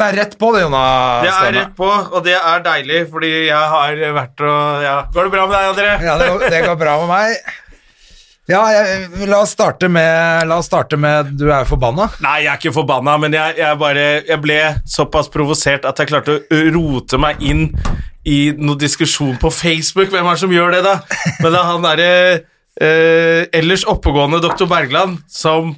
Det er rett på det, Jonas. Det er Stemme. rett på, og det er deilig, fordi jeg har vært og ja. Går det bra med deg, André? Ja, det går, det går bra med meg. Ja, jeg, la oss starte med La oss starte med Du er jo forbanna. Nei, jeg er ikke forbanna, men jeg, jeg bare Jeg ble såpass provosert at jeg klarte å rote meg inn i noe diskusjon på Facebook. Hvem er det som gjør det, da? Men det er han derre eh, ellers oppegående doktor Bergland som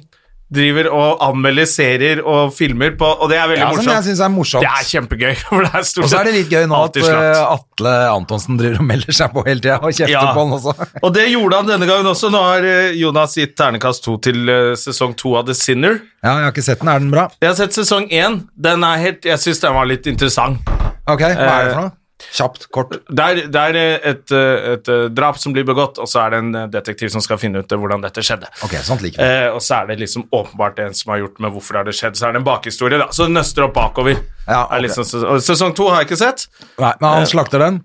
driver og anmelder serier og filmer på Og det er veldig Ja, som jeg morsomt. syns er morsomt. Det er kjempegøy. For det er stort og så er det litt gøy nå at alltid slapt. eh, Atle Antonsen driver og melder seg på hele tida og kjefter Ja. på han også. Og det gjorde han denne gangen også. Nå har eh, Jonas gitt ternekast to til eh, sesong to av The Sinner. Ja, jeg har ikke sett den. Er den bra? Jeg har sett sesong én. Den er helt, jeg syns den var litt interessant. Ok, hva er Eh. det for noe? Kjapt, kort. Det er, det er eh, et, eh, et eh, drap som blir begått, og så er det en eh, detektiv som skal finne ut eh, hvordan dette skjedde. Ok, sånt liker vi. Eh, og så er det liksom åpenbart en som har gjort med hvorfor det har det skjedd. Så er det en bakhistorie, da. Så den nøster opp bakover. Ja, Er ok. liksom ses- og sesong to har jeg ikke sett. Nei, men han slakter den?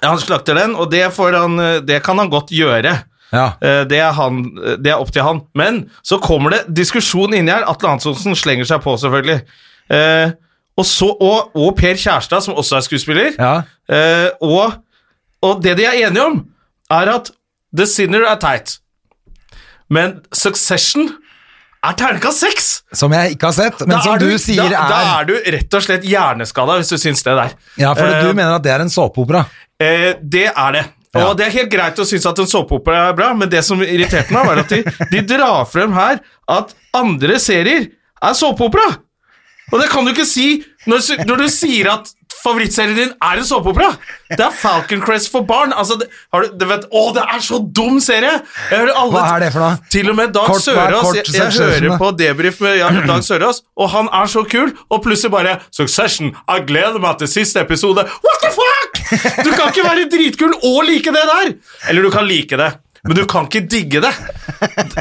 Ja, Han slakter den, og det, får han, eh, det kan han godt gjøre. Ja. Eh, Det er, han, eh, det er opp til han. Men så kommer det diskusjon inni her. Atle Antonsen slenger seg på, selvfølgelig. Eh, og, så, og, og Per Kjærstad, som også er skuespiller. ja. Eh, og, og det de er enige om, er at The Sinner er teit. Men Succession er terningkast seks! Som jeg ikke har sett, men Da som er du, sier da, Da er er du rett og slett hjerneskada, hvis du syns det der. Ja, for Eh, du mener at det er en såpeopera. Eh, det er det. Og Ja. det er helt greit å synes at en såpeopera er bra, men det som irriterte meg, var at de, de drar frem her at andre serier er såpeopera. Og det kan du ikke si når, s- når du sier at favorittserien din er en såpeopera. Det er Falcon Crest for barn. Altså, det, har du, du vet, å, det er så dum serie! Jeg hører alle, Hva er det for noe? Til og med Dag Kort- hva er Sørås. kort Jeg, jeg Succession, hører da? på debrief med ja, Dag Sørås, og han er så kul, og plutselig bare Succession, jeg gleder meg til siste episode. What the fuck?! Du kan ikke være dritkul og like det der! Eller du kan like det, men du kan ikke digge det.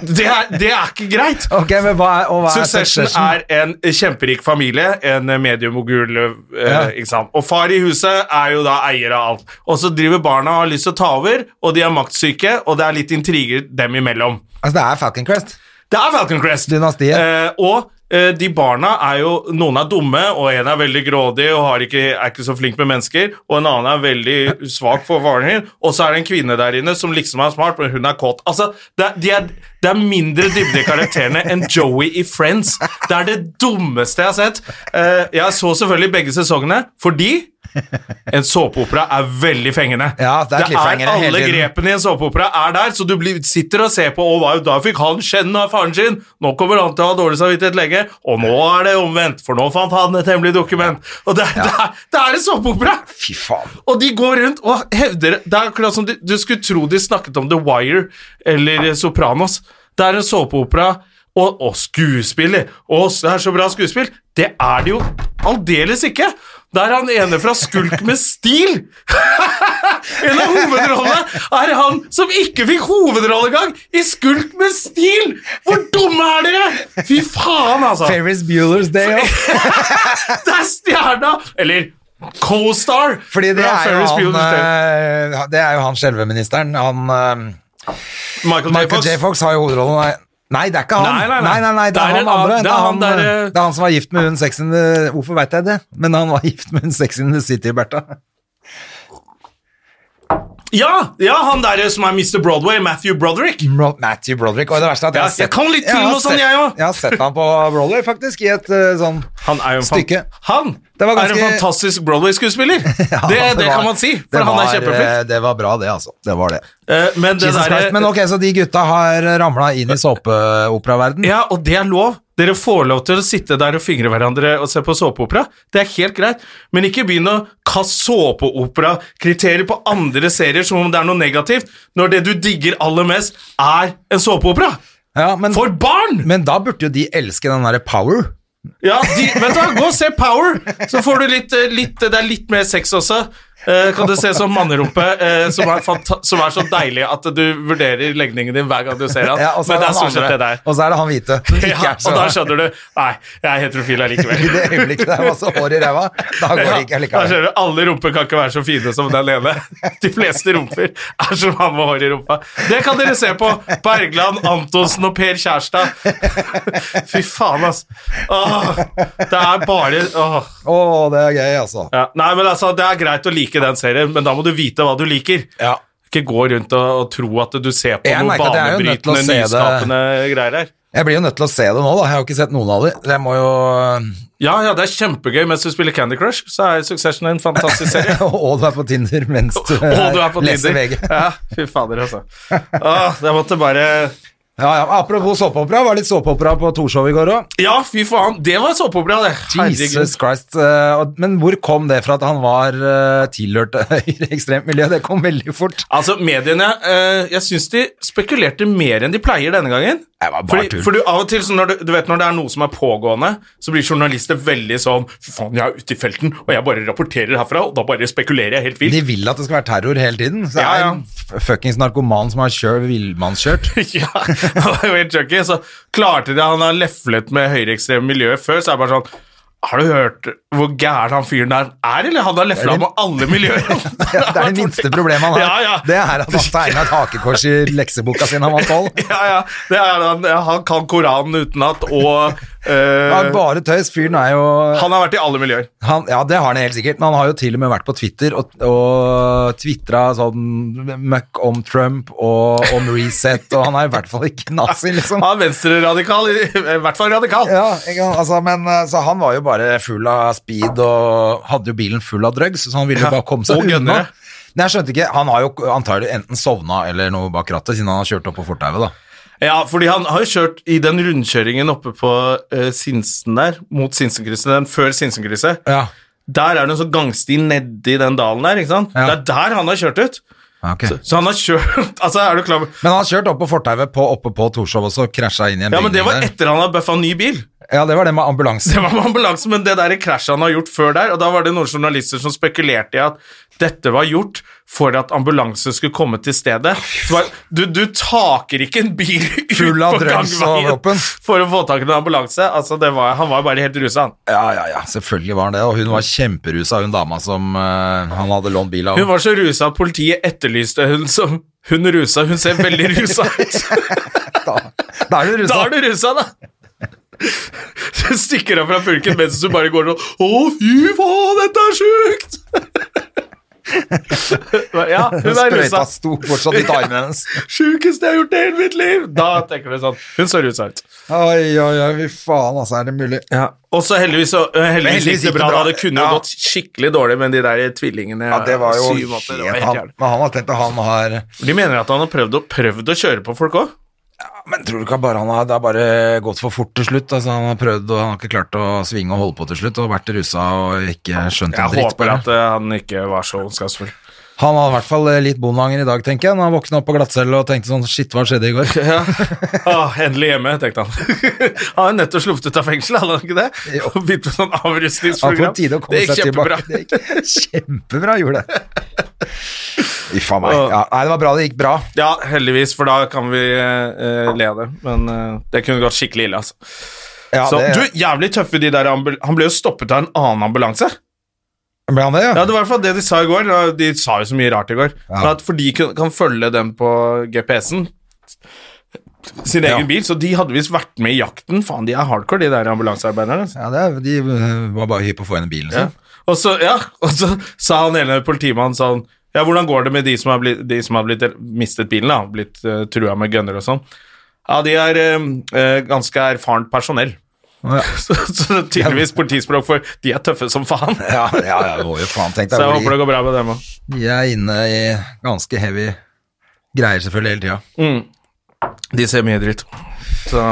Det er, det er ikke greit. Ok, men hva er, og hva er Succession er en kjemperik familie, en mediemogul, eh, Ja. ikke sant. Og far i huset er jo da eier av alt. Og så driver barna og har lyst til å ta over, og de er maktsyke, og det er litt intriger dem imellom. Altså, det er Falcon Crest. Det er Falcon Crest. Dynastiet. Eh, og eh, de barna er jo Noen er dumme, og en er veldig grådig og har ikke, er ikke så flink med mennesker. Og en annen er veldig svak for faren sin. Og så er det en kvinne der inne som liksom er smart, men hun er kåt. Altså, det, er- de er, det er mindre dybde i karakterene enn Joey i Friends. Det er det dummeste jeg har sett. Eh, jeg så selvfølgelig begge sesongene fordi en såpeopera er veldig fengende. Ja, det er cliffhangere hele alle tiden. grepene i en såpeopera er der, så du blir, sitter og ser på Å, hva jo, da fikk han kjenne av faren sin? Nå kommer han til å ha dårlig samvittighet lenge, og nå er det omvendt, for nå fant han et hemmelig dokument. Og det, er- det, er, det er en såpeopera! Fy faen. Og de går rundt og hevder Det er akkurat som de, du skulle tro de snakket om The Wire eller Sopranos. Det er en såpeopera og, og skuespiller. Og s- det er så bra skuespill. Det er det jo aldeles ikke. Det er han ene fra Skulk med stil. en av hovedrollene er han som ikke fikk hovedrolle engang i Skulk med stil! Hvor dumme er dere?! Fy faen, altså. Ferris Bueller's Day Off. Det er stjerna! Eller co-star. Fordi det fra er, Ferris jo Bueller's Day. han, eh, det er jo han skjelveministeren. Han eh, Michael, Michael J. J. Fox. Fox har jo hovedrollen. Nei. Nei, det er ikke han. Nei, nei, nei. nei, det, er Det er han en andre. annen- Det er han, det er han eh, der, det er han som var gift med hun Sex in the Hvorfor veit jeg det? Men han var gift med hun Sex in the City, Bertha. Ja, ja, han der som er Mr. Broadway, Matthew Broderick. Bro- Matthew Broderick. Og det verste er at jeg Ja, har sett jeg kan litt til har noe sånn, sett- jeg også. Jeg har sett han på Broadway, faktisk, i et eh, sånn Han er jo en, fan- Stykke. han Det var er en ganske- fantastisk Broadway-skuespiller. Ja, det, det var- kan man si, for det han er var, eh, kjempeflink. Det var bra, det, altså. Det var det. Eh, Men det Jesus Christ. Men derre ok, så de gutta har ramla inn i såpeoperaverden. Ja, og det er lov. Dere får lov til å sitte der og fingre hverandre og se på såpeopera. Det er helt greit, men ikke begynn å kaste såpeopera-kriterier på andre serier som om det er noe negativt, når det du digger aller mest, er en såpeopera. Ja, men For barn! Men da burde jo de elske den derre Power. Ja, de, vet du hva, gå og se Power, så får du litt, eh, litt Det er litt mer sex også. Eh, kan du se sånn mannerumpe eh, som, er fanta- som er så deilig at du vurderer legningen din hver gang du ser han. Ja, og så Men det er er han stort sett det andre, der. og så er det han hvite. som ikke Ja, er så- og da skjønner du Nei, jeg er heterofil allikevel. I det øyeblikket det er masse hår i ræva, da går det ikke Ja, da allikevel. skjønner du, Alle rumper kan ikke være så fine som den ene. De fleste rumper er som han med hår i rumpa. Det kan dere se på Bergland, Antonsen og Per Kjærstad. Fy faen, ass. Åh, det er bare åh. Å, det er gøy, altså. Ja. Nei, men altså, Det er greit å like den serien, men da må du vite hva du liker. Ja. Ikke gå rundt og, og tro at du ser på Jeg noe merker at jeg er jo nødt til å banebrytende, se det. nyskapende greier her. Jeg blir jo nødt til å se det nå, da. Jeg har jo ikke sett noen av dem. Jeg må jo Ja, ja, det er kjempegøy mens du spiller Candy Crush, så er Succession en fantastisk serie. Og du er på Tinder mens du, Og du er på leser Tinder. VG. Ja, fy fader, altså. Åh, jeg måtte bare Ja, ja. Apropos såpeopera, var det litt såpeopera på Torshov i går òg. Ja, fy faen, det var såpeopera, det. Herregud. Jesus Christ. eh, og- Men hvor kom det fra at han var eh, tilhørt høyreekstremt miljø? Det kom veldig fort. Altså, mediene eh, Jeg syns de spekulerte mer enn de pleier denne gangen. Det var bare Fordi, tull. for du, av og til, så når du, du vet når det er noe som er pågående, så blir journalister veldig sånn Fy faen, jeg er ute i felten, og jeg bare rapporterer herfra, og da bare spekulerer jeg helt vilt. De vil at det skal være terror hele tiden. Så det Ja, er ja. en f- fuckings narkoman som har kjørt villmannskjørt. ja, han var jo helt junkie. Så klarte de Han har leflet med høyreekstreme miljøer før, så er det bare sånn har du hørt hvor gæren han fyren der er, eller? Han har lefla med alle miljøer. Ja, det er det minste problemet han har. Ja, ja. Det er at han tegna et hakekors i lekseboka sin da han var tolv. Ja, ja. Det er, han, han kan Koranen utenat, og eh, Det er bare tøys. Fyren er jo Han har vært i alle miljøer. han, Ja, det har han helt sikkert, men han har jo til og med vært på Twitter og, og tvitra sånn møkk om Trump og om Resett, og han er i hvert fall ikke nazi, liksom. Han er venstreradikal, i, i hvert fall radikal. Ja, ikke sant? altså, men eh, Så han var jo bare full av speed og hadde jo bilen full av drugs, så han ville jo Ja, bare komme seg og unna. gønnere. Men jeg skjønte ikke, Han har jo antagelig enten sovna eller noe bak rattet, siden han har kjørt opp på fortauet. da. Ja, fordi han har jo kjørt i den rundkjøringen oppe på eh, Sinsen der, mot Sinsenkrysset, den før Sinsenkrysset. Ja. Der er det en sånn gangsti nedi den dalen der, ikke sant? Ja. Det er der han har kjørt ut. ok. Så, så han har kjørt Altså, er du klar over Men han har kjørt opp på fortauet på, oppe på Torshov også, krasja inn i en Ja, men det bygning var der. etter han har bøffa ny bil. Ja, det var det med ambulanse. Det var med ambulanse, men det der krasjet han har gjort før der, og da var det noen journalister som spekulerte i at dette var gjort for at ambulanse skulle komme til stedet. Så var- Du, du taker ikke en bil ut Full av på drugs og gangveien våpen. for å få tak i en ambulanse. Altså, det var, han var bare helt rusa, han. Ja, ja, ja, selvfølgelig var han det. Og hun var kjemperusa, hun dama som eh, han hadde lånt bil av. Hun var så rusa at politiet etterlyste hun som Hun rusa, hun ser veldig rusa ut. da, da er du rusa. Da er du rusa, da! Du stikker av fra pulken mens du bare går sånn Å, fy faen, dette er sjukt! Ja, hun er rusa. Sprøyta sto fortsatt i tarmen hennes. Sjukeste jeg har gjort i hele mitt liv! Da tenker du sånn. Hun så rusa ut. Oi, oi, oi, fy faen, altså, er det mulig? Ja, Og så heldigvis, så- eh, heldigvis gikk det bra. da. Det kunne jo Ja. gått skikkelig dårlig med de der tvillingene. det var jo syv måter, det var helt helt han, jævlig. Men han har tenkt at han har De mener at han har prøvd, og, prøvd å kjøre på folk òg. Men tror du ikke at bare han har, det har bare gått for fort til slutt? Altså, han har prøvd, og han har ikke klart å svinge og holde på til slutt, og vært rusa og ikke skjønt Jeg en dritt. håper bare. at eh, han ikke var så ondskapsfull. Han hadde i hvert fall eh, litt bondeanger i dag, tenker jeg. Når han våkna opp på glattcelle og tenkte sånn Shit, hva skjedde i går? Åh, Ah, endelig hjemme, tenkte han. han har nettopp sluppet ut av fengselet, hadde han ikke det? Jo. Og begynt med sånn Han avrustningsprogram. får tide å komme det gikk seg kjempebra. tilbake. Det gikk kjempebra, gjorde det. Fy faen meg. Ja, nei, det var bra det gikk bra. Ja, heldigvis, for da kan vi eh, le av det. Men eh, det kunne gått skikkelig ille, altså. Ja, så, det, du, jævlig tøffe de der ambul Han ble jo stoppet av en annen ambulanse. ble han det, Ja, ja? Det var i hvert fall det de sa i går. og De sa jo så mye rart i går. Men At for de kan, kan følge den på GPS-en, sin egen Ja. bil, så de hadde visst vært med i jakten. Faen, de er hardcore, de der ambulansearbeiderne. altså. Ja, det, er- de øh, var bare hypp på å få inn i bilen. Ja. Liksom. Og så, ja, og så sa han ene politimannen sånn Ja, hvordan går det med de som har blitt, de som har blitt mistet bilen, da? Blitt eh, trua med gunner og sånn. Ja, de er eh, eh, ganske erfarent personell. Ja. Så, så tydeligvis politispråk for de er tøffe som faen. Ja, ja, ja, det var jo faen tenkt Så jeg håper deg. det går bra med dem òg. De, de er inne i ganske heavy greier selvfølgelig hele tida. De ser mye dritt. Så,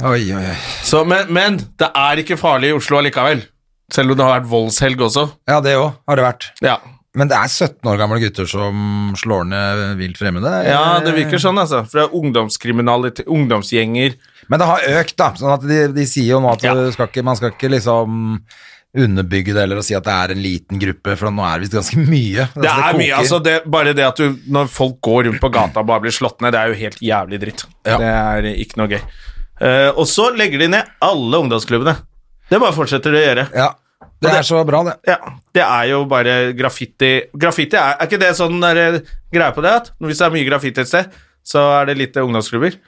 Oi, oi, oi. så men, men det er ikke farlig i Oslo allikevel. Selv om det har vært voldshelg også. Ja, det òg har det vært. Ja, Men det er 17 år gamle gutter som slår ned vilt fremmede. ja det virker sånn, altså. For det er ungdomskriminalitet, ungdomsgjenger Men det har økt, da. Sånn at de, de sier jo nå at Ja. du skal ikke, man skal ikke liksom underbygge det eller å si at det er en liten gruppe, for nå er det visst ganske mye. Det Altså, er mye, koker. altså. Det, bare det at du, når folk går rundt på gata og bare blir slått ned, det er jo helt jævlig dritt. Ja. Det er ikke noe gøy. Eh, og så legger de ned alle ungdomsklubbene. Det bare fortsetter de å gjøre. Ja. Det er så bra, det. Ja, det er jo bare graffiti Graffiti, er, er ikke det sånn der, greie på det? At hvis det er mye graffiti et sted, så er det lite ungdomsklubber?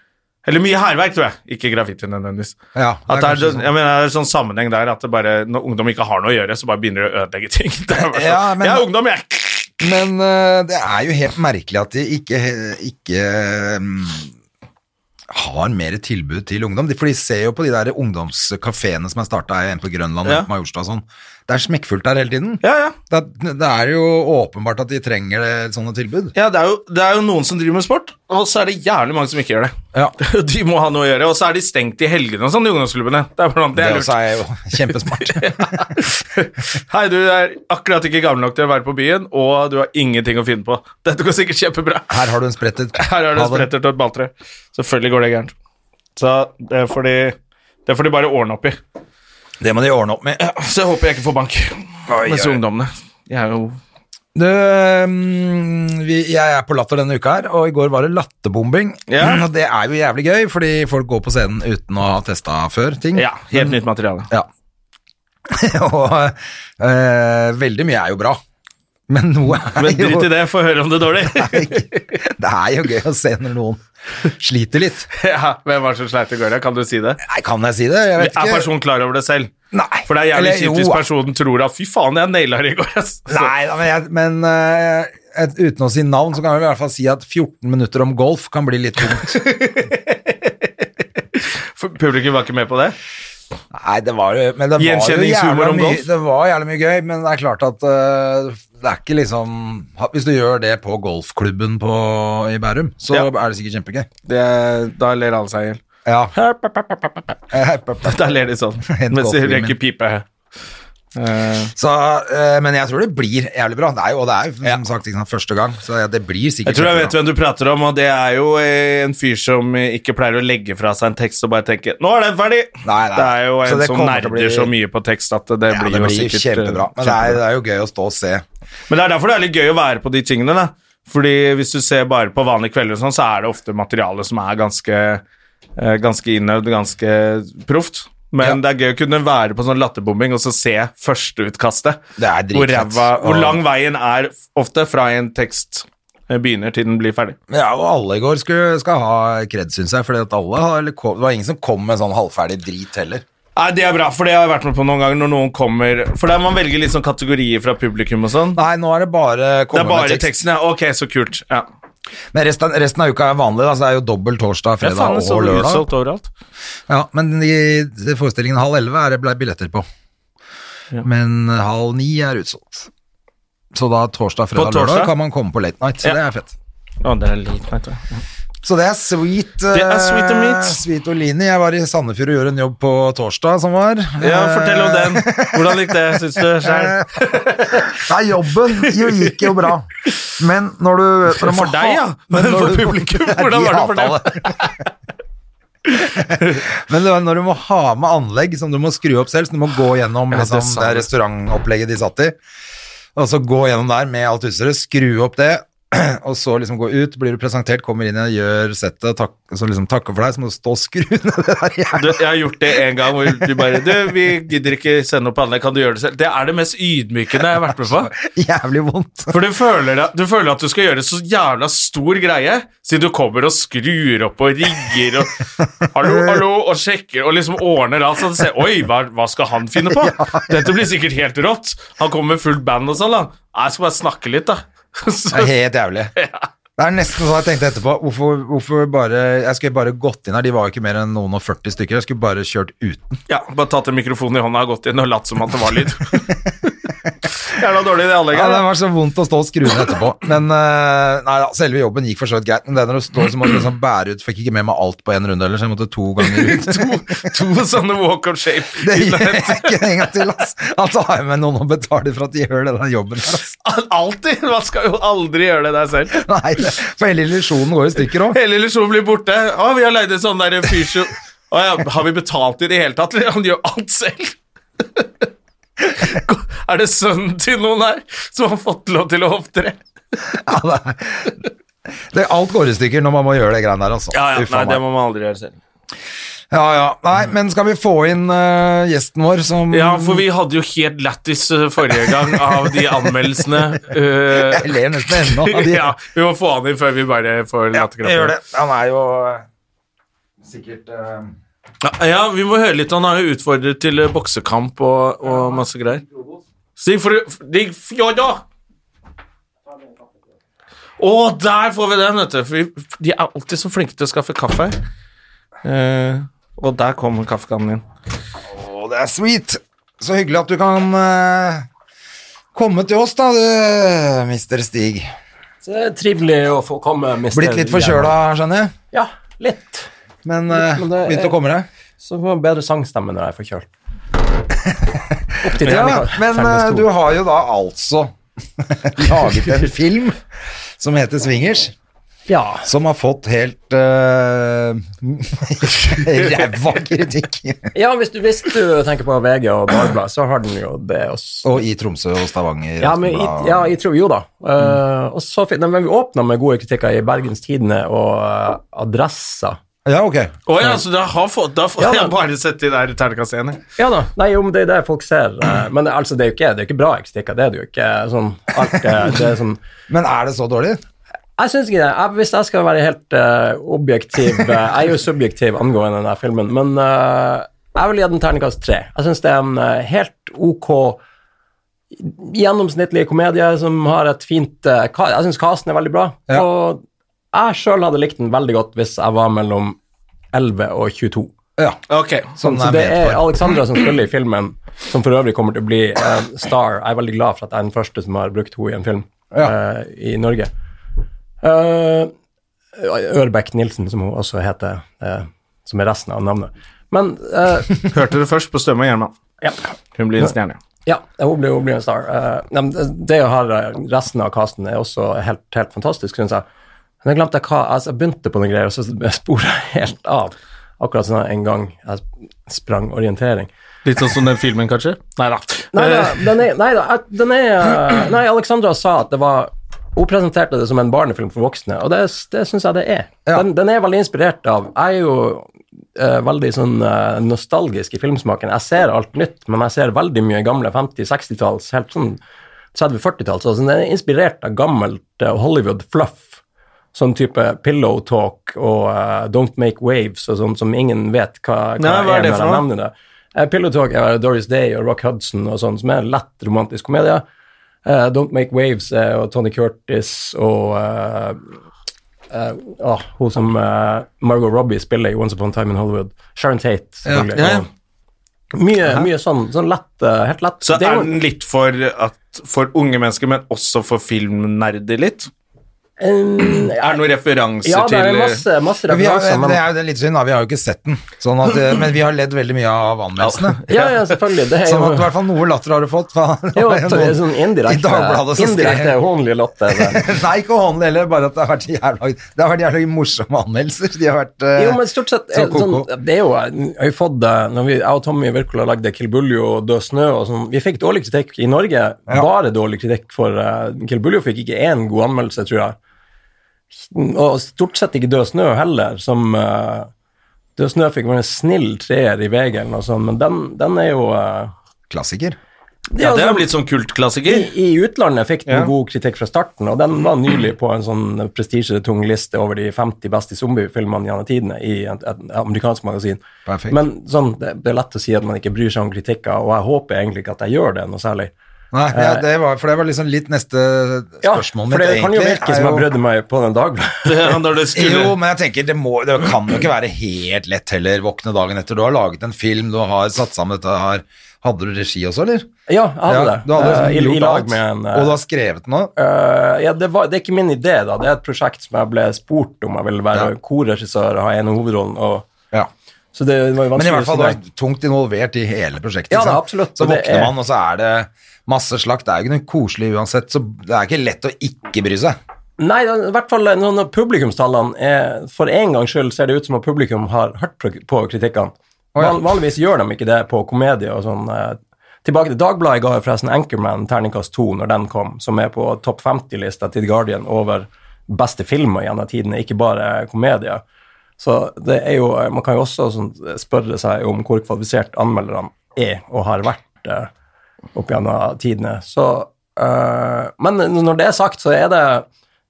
Eller mye hærverk, tror jeg. Ikke graffiti nødvendigvis. Ja, at det er det er, kanskje sånn. jeg mener, det er sånn sammenheng der at det bare, når ungdom ikke har noe å gjøre, så bare begynner de å ødelegge ting. Det er bare sånn, Ja, men- jeg er ungdom, jeg! Men eh, det er jo helt merkelig at de ikke, ikke mm, har mer tilbud til ungdom. De- For de ser jo på de der ungdomskafeene som er starta en på Grønland Ja. og på Majorstua og sånn. Det er smekkfullt der hele tiden. Ja, ja. Det, er- det er jo åpenbart at de trenger det, sånne tilbud. Ja, det er, jo, det er jo noen som driver med sport, og så er det jævlig mange som ikke gjør det. Ja. De må ha noe å gjøre, og så er de stengt i helgene og sånn, de ungdomsklubbene. Det er, blant annet- det er lurt. også er jo kjempesmart. Hei, du er akkurat ikke gammel nok til å være på byen, og du har ingenting å finne på. Dette går sikkert kjempebra. Her har du en spretter. Her er det Ha det. spretter til et balltre. Selvfølgelig går det gærent. Så det får de, det får de bare ordne opp i. Det må de ordne opp med. Så jeg håper jeg ikke får bank med disse ungdommene. Jeg er jo Du, mm, vi, jeg er på latter denne uka her, og i går var det latterbombing. Ja. Og det er jo jævlig gøy, fordi folk går på scenen uten å ha testa før ting. Ja, helt nytt materiale. Ja. og eh, veldig mye er jo bra, men noe er Men jo drit i det, få høre om det er dårlig. Det er jo gøy å se når noen sliter litt. ja, hvem var det som sleit i går, da? Kan du si det? Nei, kan jeg si det? Jeg vet Er ikke. personen klar over det selv? Nei. For det er jævlig Eller, kjipt jo, hvis personen tror at 'fy faen, jeg naila det i går', ass. Så- Nei, da, men, jeg, men eh, et, uten å si navn, så kan vi i hvert fall si at 14 minutter om golf kan bli litt tungt. For Publikum var ikke med på det? Nei, det var jo Men det var jo Gjenkjenningshumor jævla om mye, golf? det var jævlig mye gøy, men det er klart at eh, det er ikke liksom Hvis du gjør det på golfklubben på, i Bærum, så Ja. er det sikkert kjempegøy. det da ler alle seg i hjel. Ja. Eh, Da ler de sånn, Helt mens de godt, røyker Jimmy. pipe. Eh, Så, eh, men jeg tror det blir jævlig bra. Det er jo, og det er jo som sagt ikke sant, første gang, så det blir jeg sikkert tror jeg vet kjempebra. hvem du prater om, og det er jo eh, en fyr som eh, ikke pleier å legge fra seg en tekst og bare tenke 'nå er den ferdig'. Nei, nei. Det er jo Så en det som kommer til nerder å bli- så mye på tekst at det Ja, blir det jo blir sikkert eh, kjempebra. Men det kjempebra. er, det er jo gøy å stå og se. Men det er derfor det er litt gøy å være på de tingene, da. Fordi hvis du ser bare på vanlige kvelder og sånn, så er det ofte materiale som er ganske, eh, ganske innøvd, ganske proft. Men det er gøy å kunne være på sånn latterbombing og så se førsteutkastet. Det er dritfett. Hvor, ræva- hvor Og- lang veien er ofte fra en tekst eh, begynner til den blir ferdig. Men Ja, og alle i går skulle, skal ha kred, syns jeg. For det var ingen som kom med sånn halvferdig drit heller. Nei, Det er bra, for det har jeg vært med på noen ganger når noen kommer For der man velger litt sånn kategorier fra publikum og sånn. Nei, nå er det bare Det komme er bare med tekst. teksten, ja. Ok, så kult. Ja. Men resten, resten av uka er vanlig, da, så det er jo dobbelt torsdag, Ja, fredag faen, så og det lørdag. utsolgt overalt. Ja, men i forestillingen halv elleve er det ble billetter på. Men halv ni er utsolgt. Så da torsdag, fredag, torsdag? lørdag kan man komme på late night. Så Ja. det er fett. Å, det er litt, nei, tror jeg. Så det er sweet. Det er eh, sweet og meat. Sweet Olini. Jeg var i Sandefjord og gjorde en jobb på torsdag som var. Ja, Eh, fortell om den. Hvordan gikk det, syns du sjøl? Nei, jobben jo gikk jo bra. Men når du når man For deg, ha- ja. men Men når for du- publikum, Ja, de hvordan var det for hater det. Men det var når du må ha med anlegg som du må skru opp selv, så du må gå gjennom Ja, det er liksom, sant. det, restaurantopplegget de satt i, og så gå gjennom der med alt utstyret, skru opp det, og så liksom gå ut, blir du presentert, kommer inn og gjør settet, tak, så liksom takker for deg, så må du stå og skru ned det der jævla Jeg har gjort det en gang hvor du bare Du, vi gidder ikke sende opp anlegg, kan du gjøre det selv? Det er det mest ydmykende jeg har vært med på. jævlig vondt. For du føler, at- du føler at du skal gjøre så jævla stor greie, siden du kommer og skrur opp og rigger og Hallo, hallo, og sjekker og liksom ordner alt. Så du ser Oi, hva, hva skal han finne på? Dette blir sikkert helt rått. Han kommer med fullt band og sånn, da. Jeg skal bare snakke litt, da. Det Så, er helt jævlig. Det er nesten sånn jeg tenkte etterpå. Hvorfor, hvorfor bare Jeg skulle bare gått inn her, de var jo ikke mer enn noen og 40 stykker. Jeg skulle bare kjørt uten. Ja, bare tatt en mikrofon i hånda og gått inn og latt som at det var lyd. Jævla dårlig i det Ja, anlegget. Det da. var så vondt å stå og skru ned etterpå. Men eh, nei da, selve jobben gikk for så vidt greit. Men det er når du står så må du liksom bære ut Fikk ikke med meg alt på én runde heller, så jeg måtte to ganger ut. to, to sånne walk of shape. Det gjør jeg ikke en gang til, ass. Altså har jeg med noen og betaler for at de gjør den jobben der, ass. Alltid! Man skal jo aldri gjøre det der selv. Nei, det- for hele illusjonen går i stykker òg. Hele illusjonen blir borte. Å, vi har leid en sånn der fysio... Å ja, har vi betalt i det hele tatt? eller? Han gjør alt selv. Er det sønnen til noen her som har fått lov til å opptre? Ja, det er- det, alt går i stykker når man må gjøre det greiene der, altså. Ja, ja, Uffa nei, det meg. må man aldri gjøre selv. ja, ja. Nei, men skal vi få inn eh, gjesten vår som Ja, for vi hadde jo helt lættis eh, forrige gang av de anmeldelsene. eh, Jeg ler nesten ennå av de. ja, vi må få han inn før vi bare får jeg gjør latterkrampe. det. Han er jo eh, sikkert eh, Ja, ja, vi må høre litt. Han har jo utfordret til eh, boksekamp og, og masse greier. Stig for Stig Fjodda! Å, der får vi den, vet du. For vi, de er alltid så flinke til å skaffe kaffe. Eh, og der kommer kaffekannen din. Å, det er sweet! Så hyggelig at du kan eh, komme til oss, da, du, mister Stig. Så det er trivelig å få komme. mister Blitt litt forkjøla, skjønner jeg. Ja, litt. Men, eh, men det er- begynt å komme deg. Så får man bedre sangstemme når jeg er forkjølt. Opp til Ja, terningkast- men terningkast eh, to. du har jo da altså laget en film som heter Swingers. Ja, Som har fått helt uh, ræva kritikk. ja hvis, du, hvis du tenker på VG og Dagbladet, så har den jo det også. Og i Tromsø og Stavanger. Ja, men i, ja, jeg tror jo da. Eh, og så fikk, nei, men vi åpna med gode kritikker i Bergens Tidende og eh, Adressa. Ja, ok. Å ja, så da har fått, da får Ja, da- jeg bare sett de der terningkastene. Ja da. Nei, jo, men det er det folk ser. eh, men det, altså, det er jo ikke, det er jo ikke bra kritikker. Det er det jo ikke. Sånn, alt, eh, det er sånn Men er det så dårlig? Jeg syns ikke det. Jeg, hvis jeg skal være helt eh, objektiv eh, Jeg er jo subjektiv angående denne filmen, men eh, jeg vil gi den terningkast tre. Jeg syns det er en eh, helt ok gjennomsnittlig komedie som har et fint eh, ka- Jeg syns casten er veldig bra. Ja. Og jeg sjøl hadde likt den veldig godt hvis jeg var mellom 11 og 22. Ja, Ok. sånn Så er det ment er for. Alexandra som spiller i filmen, som for øvrig kommer til å bli en star. Jeg er veldig glad for at jeg er den første som har brukt henne i en film Ja. eh, i Norge. Eh, Ørbeck Nilsen, som hun også heter, eh, som er resten av navnet. Men eh, Hørte det først på Stømme og Gjerman. ja, Hun blir en stjerne. ja, hun blir, hun blir en star. Eh, nei, men det å ha resten av casten er også helt, helt fantastisk, syns jeg. Men jeg glemte hva altså, Jeg begynte på noen greier, og så spora jeg helt av. Akkurat sånn en gang jeg sprang orientering. Litt sånn som den filmen, kanskje? Nei da. Nei da, Eh. den er, nei, da at- den er eh, Nei, Alexandra sa at det var Hun presenterte det som en barnefilm for voksne, og det, det syns jeg det er. Ja. Den, den er veldig inspirert av Jeg er jo eh, veldig sånn eh, nostalgisk i filmsmaken. Jeg ser alt nytt, men jeg ser veldig mye gamle 50-, 60-talls, helt sånn 30-40-talls. Altså, den er inspirert av gammelt eh, Hollywood-fluff. Sånn type pillow talk og eh, don't make waves og sånn som ingen vet hva, hva, Nei, hva er det når for jeg noe? nevner det. Eh, Pillow Talk er Doris Day og Rock Hudson og sånn, som er en lett romantisk komedie. Eh, Don't Make Waves eh, og Tony Curtis og eh, eh, ah, hun som eh, Margot Robbie spiller i Once Upon a Time in Hollywood. Sharon Tate, selvfølgelig. Ja, ja. Og Mye, mye sånn, sånn lett, eh, helt lett. Så Det er er jo- den litt for, at, for unge mennesker, men også for filmnerder litt? Eh, Er det noen referanser ja, det til er eh, masse, masse Men Vi har, referanser, men det er jo litt synd, da. Vi har jo ikke sett den. Sånn at, eh, men vi har ledd veldig mye av anmeldelsene. ja, ja, selvfølgelig. Det er Sånn at i jo, hvert fall noe latter har du fått. fa- det jo var jo det er sånn noen- I indirekte, Dagbladet så indirekte skrev hånlig latter. det. Nei, ikke håndelig heller, bare at det har vært jævla, det har vært jævla morsomme anmeldelser. De har vært eh, Jo, men stort sett Så eh, sånn, koko. Det er jo Jeg har jo fått det når vi, Jeg og Tommy Wirkola lagde Kilbuljo og Død snø og sånn. Vi fikk dårlig kritikk i Norge. Bare dårlig kritikk for uh, Kilbuljo fikk ikke én god anmeldelse, tror jeg. Og stort sett ikke Død snø heller, som eh, Død snø fikk være en snill treer i VG eller noe sånt, men den, den er jo eh, klassiker. Ja, det altså- er blitt sånn kultklassiker. i, I utlandet fikk den god kritikk fra starten, og den var nylig på en sånn prestisjetung liste over de 50 beste zombiefilmene gjennom tidene i et, et amerikansk magasin. Perfekt. Men sånn, det, det er lett å si at man ikke bryr seg om kritikker, og jeg håper egentlig ikke at jeg gjør det noe særlig. Nei, ja, det var, for det var liksom litt neste spørsmål Eh, for det kan jo egentlig, virke er som jeg jo- brydde meg på den dagen. Ja, når det skulle Jo, men jeg tenker, det, må, det kan jo ikke være helt lett heller, våkne dagen etter. Du har laget en film, du har satt sammen dette her. Hadde du regi også, eller? ja, jeg hadde det. Du hadde Eh, liksom i, gjort I lag alt, med en eh, Og du har skrevet den også? Eh, ja, det, var, det er ikke min idé, da. Det er et prosjekt som jeg ble spurt om. Jeg ville være Ja. korregissør og ha en av hovedrollen. Og, Ja. så det var jo Men i vanskelig hvert fall, å du si er tungt involvert i hele prosjektet. Ja, ikke sant? det er absolutt, Så og det våkner er- man, og så er det masse slakt. Det er jo ikke noe koselig uansett, så det er ikke lett å ikke bry seg. Nei, det er i hvert fall eh, når når publikumstallene er For en gangs skyld ser det ut som at publikum har hørt på- på kritikkene. ja. Van- Vanligvis gjør de ikke det på komedie og sånn. eh. Tilbake til Dagbladet ga jo forresten Anchorman terningkast 2 når den kom, som er på topp 50-lista til The Guardian over beste filmer gjennom tidene, ikke bare komedier. Så det er jo, man kan jo også sånn, spørre seg om hvor kvalifisert anmelderne er og har vært eh, opp gjennom tidene. Så, eh, men når det er sagt, så er det,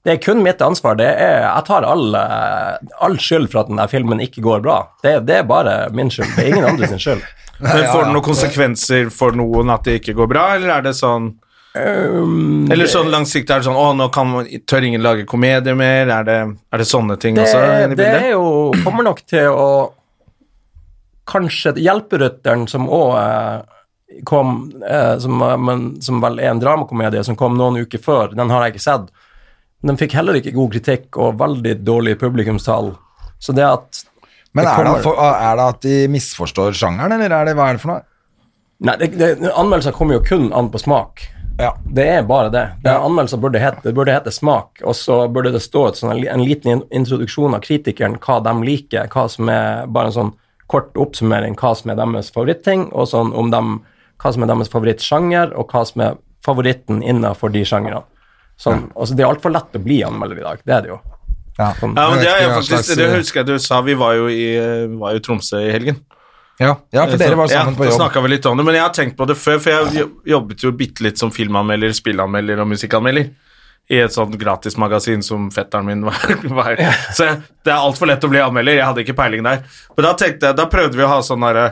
det er kun mitt ansvar. Det er, jeg tar all, eh, all skyld for at denne filmen ikke går bra. Det, det er bare min skyld. Det er ingen andres skyld. Men får det noen konsekvenser for noen at det ikke går bra, eller er det sånn Um, Eller sånn langsiktig er det sånn Å, nå kan, tør ingen lage komedie mer. Er det, er det sånne ting også det, inni det er bildet? jo kommer nok til å Kanskje Hjelperytteren, som òg eh, kom eh, som, eh, men, som vel er en dramakomedie som kom noen uker før, den har jeg ikke sett. Den fikk heller ikke god kritikk og veldig dårlig publikumstall. Så det at Men er Det det, kommer. at for, er det at de misforstår sjangeren, eller er det, hva er det for noe? Nei, det, det, anmeldelser kommer jo kun an på smak. Ja. Det er bare det. det er anmeldelser burde hete, det burde hete smak, og så burde det stå et sånn, en liten in- introduksjon av kritikeren, hva de liker, hva som er bare en sånn kort oppsummering, hva som er deres favorittting, og sånn om dem, hva som er deres favorittsjanger, og hva som er favoritten innenfor de sjangerne. Sånn, altså, det er altfor lett å bli anmelder i dag, det er det jo. Ja. Ja, men det, er jo Jeg vet ikke hva faktisk, slags- det eh, husker jeg du sa, vi var jo i, eh, var jo i Tromsø i helgen. Ja, ja for dere var Eh, Så- sammen ja, på da jobb. snakket vi litt om det, men jeg har tenkt på det før, for jeg jo- jobbet jo bitte litt som filmanmelder, spillanmelder og musikkanmelder i et sånt gratismagasin som fetteren min var. var. Så jeg, det er altfor lett å bli anmelder, jeg hadde ikke peiling der. Men da tenkte jeg, da prøvde vi å ha sånn derre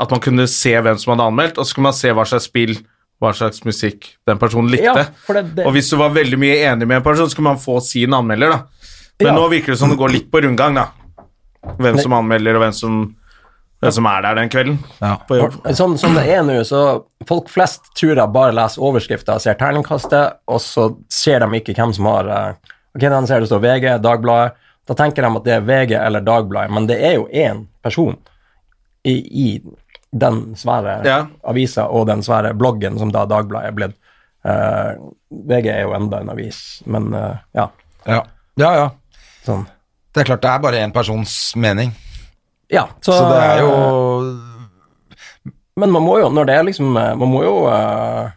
at man kunne se hvem som hadde anmeldt, og så kunne man se hva slags spill, hva slags musikk den personen likte. Ja, for det- det- Og hvis du var veldig mye enig med en person, så kunne man få sin anmelder, da. Men Ja. nå virker det som det går litt på rundgang, da. Hvem som anmelder, og hvem som, hvem som er der den kvelden. Ja. På jobb. Sånn som det er nå, så folk flest tror jeg bare leser overskrifter og ser terningkastet, og så ser de ikke hvem som har eh, Ok, den ser det står VG, Dagbladet. Da tenker de at det er VG eller Dagbladet, men det er jo én person i, i den svære Ja. avisa og den svære bloggen som da Dagbladet er blitt. Eh, VG er jo enda en avis, men eh, ja, Ja. ja, ja. sånn. Det er klart, det er bare én persons mening. Ja, Så det er jo Men man må jo, når det er liksom eh, Man må jo eh,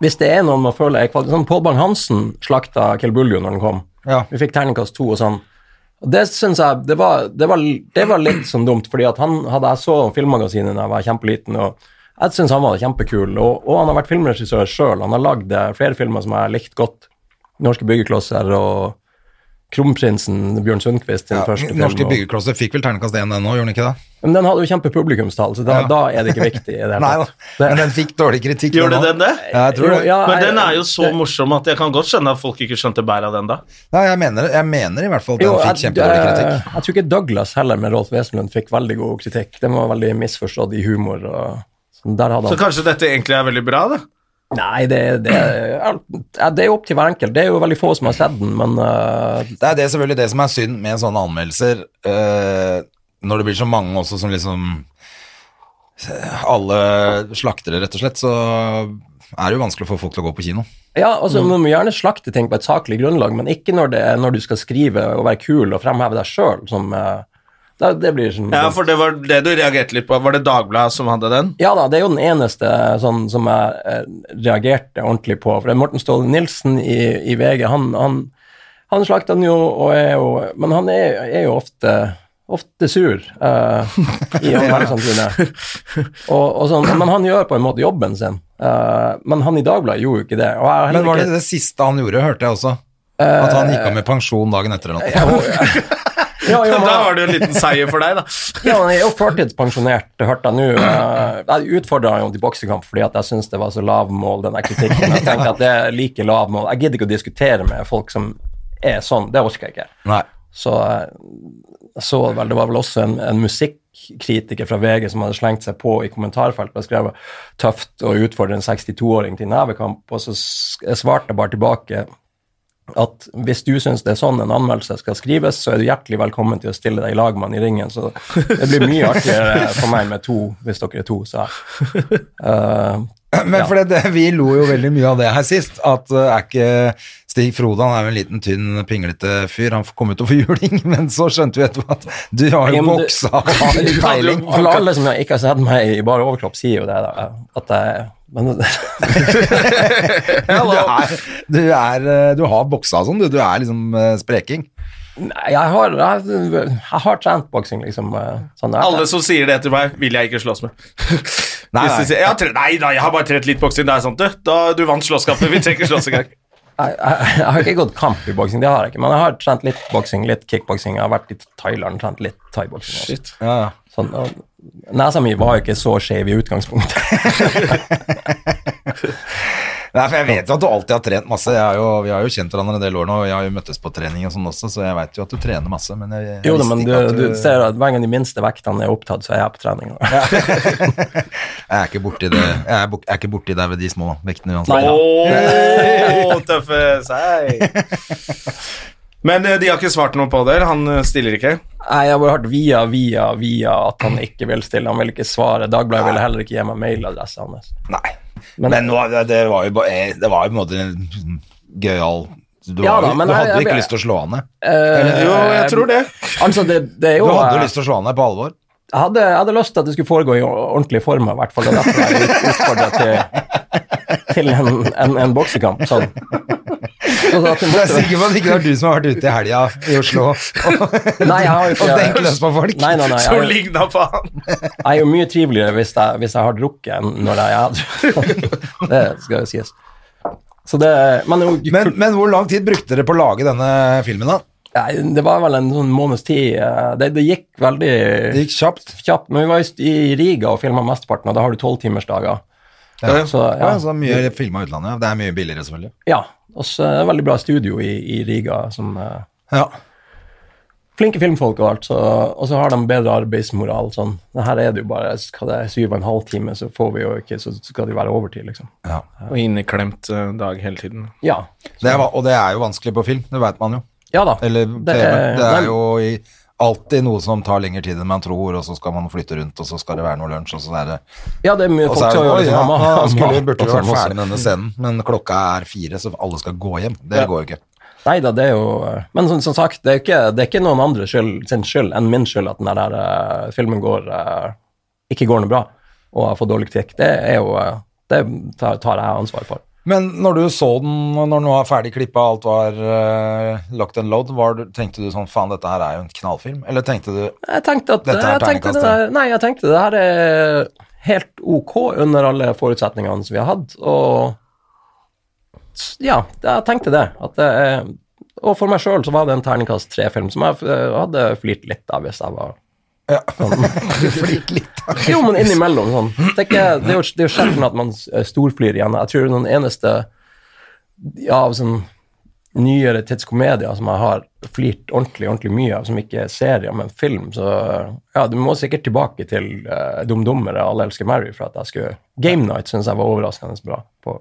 Hvis det er noen man føler er kvalitet Sånn Pål Bang-Hansen slakta Kelbuljo når den kom. Ah. Ja. Vi fikk terningkast to og sånn. Og Det syns jeg det var, det, var, det var litt sånn dumt, fordi at han hadde jeg så Filmmagasinet da jeg var kjempeliten, og jeg syns han var kjempekul. Og, og han har vært filmregissør sjøl. Han har lagd eh, flere filmer som jeg har likt godt. 'Norske byggeklosser' og 'Kronprinsen', Bjørn Sundquist sin ja, første film. Norske og- byggeklosser fikk vel terningkast én ennå, gjorde den ikke det? men den hadde jo kjempepublikumstall, så da, Ja. da er det ikke viktig. i Det Nei da, men den fikk dårlig kritikk. Gjorde nå. den det? Ja, jeg tror det. Men den er jo så morsom at jeg kan godt skjønne at folk ikke skjønte bæret av den da. Ja, jeg mener, jeg mener i hvert fall at den fikk kjempedårlig kritikk. Jeg tror ikke Douglas heller med Rolf Wesenlund fikk veldig god kritikk. Den var veldig misforstått i humor. og sånn. der hadde Så han... kanskje dette egentlig er veldig bra, da? Nei, det, det, ja, det er jo opp til hver enkelt. Det er jo veldig få som har sett den, men eh, Det er det selvfølgelig det som er synd med sånne anmeldelser, eh, når det blir så mange også som liksom eh, alle slaktere, rett og slett, så er det jo vanskelig å få folk til å gå på kino. Ja, altså Mm. Man må gjerne slakte ting på et saklig grunnlag, men ikke når, det, er- når du skal skrive og være kul og fremheve deg sjøl. Det, det blir sånn Ja, for det var det du reagerte litt på. Var det Dagbladet som hadde den? Ja da, det er jo den eneste sånn, som jeg eh, reagerte ordentlig på. For det er Morten Ståle Nilsen i, i VG, han, han, han slakta den jo, og er jo, men han er, er jo ofte, ofte sur eh, i anmeldelsene sine. Og, og sånn, men han gjør på en måte jobben sin. Eh, men han i Dagbladet gjorde jo ikke det. Og jeg har heller Men var det ikke- det siste han gjorde, hørte jeg også? At han gikk av med pensjon dagen etter eller noe. Ja, ja, Da men- var det jo en liten seier for deg, da. Ja, han er jo førtidspensjonert, hørte jeg nå. Eh, Jeg utfordra han jo til boksekamp fordi at jeg syntes det var så lav mål, den der kritikken. Jeg tenkte at det er like lav mål. Jeg gidder ikke å diskutere med folk som er sånn. Det orker jeg ikke. Nei. Så eh, jeg så vel, det var vel også en, en musikkritiker fra VG som hadde slengt seg på i kommentarfeltet og skrevet 'tøft å utfordre en 62-åring til nevekamp', og så s- jeg svarte jeg bare tilbake at hvis du syns det er sånn en anmeldelse skal skrives, så er du hjertelig velkommen til å stille deg i lag med han i ringen. Så det blir mye artigere for meg med to, hvis dere er to, sa jeg. Eh, Men for det, det, vi lo jo veldig mye av det her sist, at eh, er ikke Stig Frode han er jo en liten, tynn, pinglete fyr. Han kom jo til å få juling, men så skjønte vi etterpå at du har Ja, jo men du- boksa og har litt peiling. For alle som ikke har sett meg i bare overkropp, sier jo det, da. At jeg men, Du, er, du, er, eh, du har boksa og sånn, du. Du er liksom eh, spreking. Nei, jeg har, jeg, jeg har trent boksing, liksom. eh, Sånn er det. Alle som sier det til meg, vil jeg ikke slåss med. Nei, Hvis de nei. sier, jeg har tre, nei da, jeg har bare trent litt boksing. Det er sant, du. Da, du vant slåsskampen. Vi trenger ikke slåss engang. jeg, jeg, jeg har ikke gått kamp i boksing, det har jeg ikke. Men jeg har trent litt boksing, litt kickboksing. Jeg har vært i Thailand, trent litt thaiboksing. også. Ja, ja. Sånn, og nesa mi var jo ikke så skjev i utgangspunktet. Nei, for jeg vet jo at du alltid har trent masse. Jeg er jo, vi har jo kjent hverandre en del år nå, og jeg har jo møttes på trening og sånn også, så jeg vet jo at du trener masse, men jeg, jeg Jo da, visste men du, ikke at du ser at hver gang de minste vektene er opptatt, så er jeg på trening. Jeg er ikke borti det. Jeg er, bok- jeg er ikke borti der ved de små vektene uansett. Ååå, tøffe seg. Men eh, de har ikke svart noe på det? eller? Han eh, stiller ikke? Nei, jeg har bare hørt via, via, via at han ikke vil stille. Han vil ikke svare. Dagbladet ville heller ikke gi meg mailadressa hans. Nei. Men- Men, nå- det, det var jo bare eh, Det var jo på en måte en gøyal Du, Ja var jo- da, men du jeg- hadde jo jeg ikke ble- lyst til å slå han ned. Eh, Jo, jeg tror det. Altså, det, det er Du jo hadde jo eh, lyst til å slå han ned på alvor. jeg, hadde, jeg hadde lyst til at det skulle foregå i ordentlig form, i hvert fall. Det er derfor jeg ut- utfordret til, til en, en, en boksekamp. Sånn. Så at det Jeg er måtte, sikker på at det ikke er du som har vært ute i helga i Oslo og, nei, jeg har jo og tenkt ikke løs på folk. Nei, nei, nei. Som Jeg, ligna på han. jeg er jo mye triveligere hvis jeg, hvis jeg har drukket enn når jeg er edru. Det skal jo sies. Så det, men, det er jo- Men, men hvor lang tid brukte dere på å lage denne filmen, da? Nei, det var vel en sånn måneds tid. eh, Det, det gikk veldig Det gikk kjapt. kjapt. Men vi var just i Riga og filma mesteparten, og da har du tolvtimersdager. Ja. Så, Ja, ja. så mye filma utlandet. ja. Det er mye billigere, selvfølgelig. ja. Og så er det et veldig bra studio i, i Riga. Som, eh, Ja. flinke filmfolk og alt, så, og så har de bedre arbeidsmoral. Sånn. Men Her er det jo bare hva det er, syv og en halv time, så får vi jo ikke, så skal det jo være overtid, liksom. Og inneklemt eh, dag hele tiden. Ja. Det er, og det er jo vanskelig på film, det veit man jo. Ja da. Eller TV. Det er, men- jo i, alltid noe som tar lengre tid enn man tror, og så skal man flytte rundt, og så skal det være noe lunsj, og så er det Ja, det er mye Og så folk er som det, gjør oi, det. ja, som har mat- nå skulle, mat burde og vi vært sånn også. ferdig med denne scenen, men klokka er fire, så alle skal gå hjem. Det går jo ikke. Nei da, det er jo eh, Men som, som sagt, det er, jo ikke, det er ikke noen andre skyld, sin skyld enn min skyld at den der eh, filmen går, eh, ikke går noe bra og har fått dårlig kritikk. Det er jo eh, Det tar, tar jeg ansvar for. Men når du så den, og når den var ferdig klippa, alt var eh, locked and load, var, du- tenkte du sånn faen, dette her er jo en knallfilm? Eller tenkte du Jeg tenkte at Dette er jeg tenkte terningkast, det der, Nei, jeg tenkte det her er helt ok under alle forutsetningene som vi har hatt, og Ja, jeg tenkte det. At det er og for meg sjøl så var det en terningkast tre-film som jeg eh, hadde flirt litt av hvis jeg var Ja. Flirt litt av? Jo, men innimellom sånn. Det er, ikke, det er jo, det er jo sjelden at man eh, storflyr igjen. Jeg tror den eneste ja, av sånn nyere tidskomedier som jeg har flirt ordentlig ordentlig mye av, som ikke er serier, men film, så ja, du må sikkert tilbake til eh, Dum Dummere, Alle elsker Mary, for at jeg skulle Game Night syns jeg var overraskende bra. på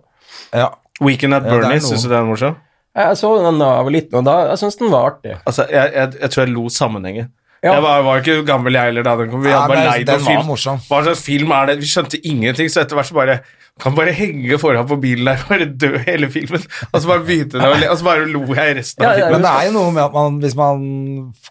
Ja. Weekend at Ja, det er Bernies, noe. syns du det er morsom? jeg jeg så den da jeg var liten, og da, jeg syns den var artig. Altså, jeg, jeg, jeg tror jeg lo sammenhengen. Ja. Jeg var, var ikke gammel jeg heller da den kom. Vi Ja, hadde bare men leid den en var film. morsom. Hva slags film er det? Vi skjønte ingenting, så etter hvert så bare Kan bare henge foran på bilen der og bare dø hele filmen. Og så bare begynte det å le, og så bare lo jeg resten Ja, av ja, filmen. Men det er jo noe med at man, hvis man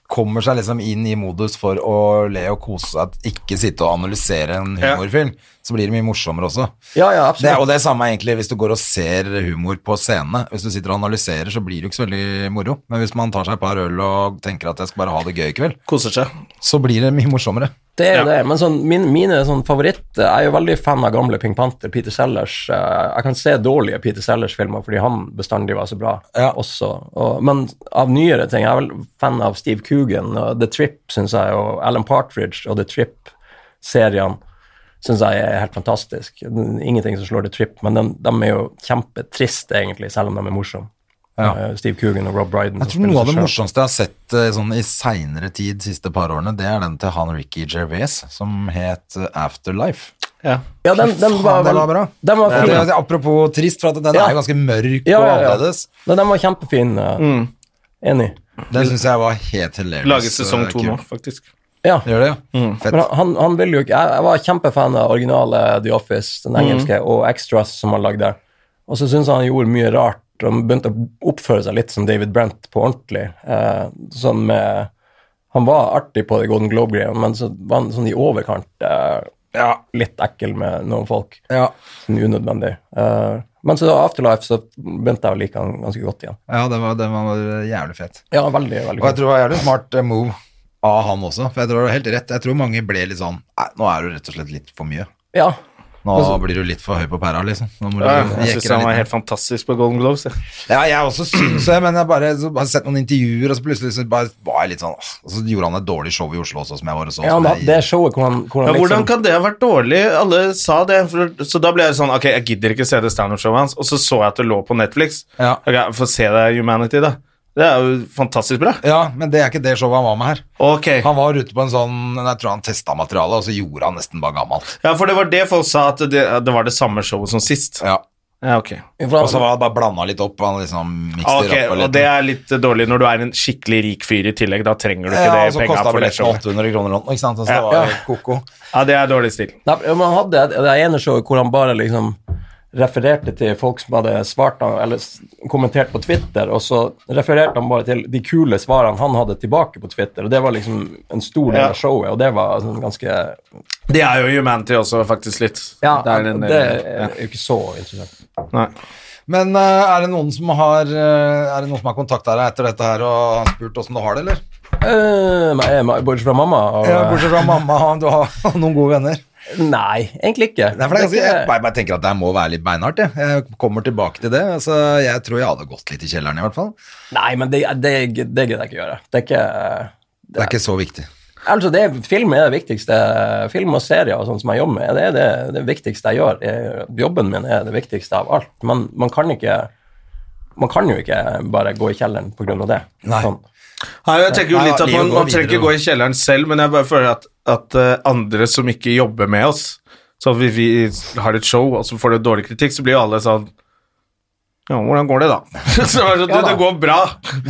kommer seg liksom inn i modus for å le og kose seg, ikke sitte og analysere en Ja. humorfilm, så blir det mye morsommere også. Ja, ja, Det, og absolutt. det samme er egentlig hvis du går og ser humor på scene. Hvis du sitter og analyserer, så blir det jo ikke så veldig moro. Men hvis man tar seg et par øl og tenker at jeg skal bare ha det gøy i kveld, Koser seg. så blir det mye morsommere. Det er jo Ja. det. Men sånn, min, mine sånn favoritter Jeg er jo veldig fan av gamle Pink Panther, Peter Sellers. eh, Jeg kan se dårlige Peter Sellers-filmer fordi han bestandig var så bra Ja. også. Og, men av nyere ting Jeg er vel fan av Steve Coogan og The Trip, syns jeg, og Alan Partridge og The Trip-seriene. Syns jeg er helt fantastisk. Ingenting som slår The Trip, men de, de er jo kjempetriste, egentlig, selv om de er morsomme. Eh, Steve Coogan og Rob Brydon. Jeg tror som spiller noe av seg det selv. morsomste jeg har sett eh, sånn, i seinere tid, siste par årene, det er den til han Ricky Gervais som het eh, Afterlife. Ja. Ja, den, den Faen, var, det vel- var bra. Den var fin. Det er apropos trist, for at den Ja. er jo ganske mørk Ja, og ja, ja. annerledes. Mm. Nei, den var kjempefin. eh, Enig. Den syns jeg var helt hilarious. Laget sesong eh, to kul. nå, faktisk. Ja. Gjør det, ja? Fett. Men han, han ville jo ikke jeg, jeg var kjempefan av Mm. originale The Office, den engelske, og Extras, som han lagde. Og så syns han gjorde mye rart Han begynte å oppføre seg litt som David Brent på ordentlig. Eh, som, eh, han var artig på det Golden Globe-greia, men så var han sånn i overkant eh, ja, litt ekkel med noen folk. Ja. Sånn unødvendig. Eh, men så da Afterlife så begynte jeg å like han ganske godt igjen. Ja, den var, den var jævlig fet. Ja, veldig, veldig Og jeg godt. tror det var jævlig smart eh, move av han også, for jeg tror du har helt rett. Jeg tror mange ble litt sånn Nei, nå er du rett og slett litt for mye. Ja, Nå blir du litt for høy på pæra, liksom. Nå må du Ja, jekke jeg syns deg han litt var ned. helt fantastisk på Golden Globes. jeg. Ja, jeg også syns det, men jeg bare så har jeg sett noen intervjuer, og så plutselig så bare var jeg litt sånn åh, Og så gjorde han et dårlig show i Oslo også, som jeg var og så. ja han som hadde jeg- det showet hvor han, hvor Ja, han hvordan liksom kan det ha vært dårlig? Alle sa det. For, så da ble jeg sånn Ok, jeg gidder ikke se det standup-showet hans. Og så så jeg at det lå på Netflix. Ja. Ok, Få se det Humanity, da. Det er jo fantastisk bra. ja, men det er ikke det showet han var med her. Ok. Han var ute på en sånn Jeg tror han testa materialet, og så gjorde han nesten bare gammelt. Ja, for det var det folk sa, at det, det var det samme showet som sist. Ja. Ja, ok. for Og så han, var det bare blanda litt opp, han liksom mikser Ah, ok, opp og litt. Og det er litt eh, dårlig når du er en skikkelig rik fyr i tillegg. Da trenger du ikke ja, og det så penga kosta for det billetten showet. 800 kroner eller noe, ikke sant. Så det Ja. var jo koko. Ja, det er dårlig stil. Nei, men han hadde det det ene showet hvor han bare liksom refererte til folk som hadde svart han, eller s- kommentert på Twitter, og så refererte han bare til de kule svarene han hadde tilbake på Twitter, og det var liksom en stor del Ja. av showet, og det var sånn ganske Det er jo Humanity også, faktisk, litt. Ja, det er en, det eh, er jo ikke så interessant. Nei. Men eh, er det noen som har eh, Er det noen som har kontakta deg etter dette her og har spurt åssen du har det, eller? Eh, men jeg- bortsett fra mamma og Ja, bortsett fra mamma, du har noen gode venner. Nei, egentlig ikke. Nei, for det er ganske, Det er jeg ikke- bare bare tenker at det her må være litt beinhardt. Jeg. jeg kommer tilbake til det. Altså, jeg tror jeg hadde gått litt i kjelleren, i hvert fall. Nei, men det, det, det gidder jeg ikke gjøre. Det er ikke Det er ikke så viktig. Altså, det, Film er det viktigste. Film og serier og sånn som jeg jobber med, det er det, det viktigste jeg gjør. Jeg, jobben min er det viktigste av alt. Men man kan ikke Man kan jo ikke bare gå i kjelleren på grunn av det. Sånn. Nei. Nei, jeg tenker jo Nei, litt at livet Man, går man trenger videre, ikke gå i kjelleren selv, men jeg bare føler at, at eh, andre som ikke jobber med oss Så vi, vi har et show, og så får det dårlig kritikk, så blir jo alle sånn Ja, hvordan går det, da? så er det, sånn, Ja det da. går bra.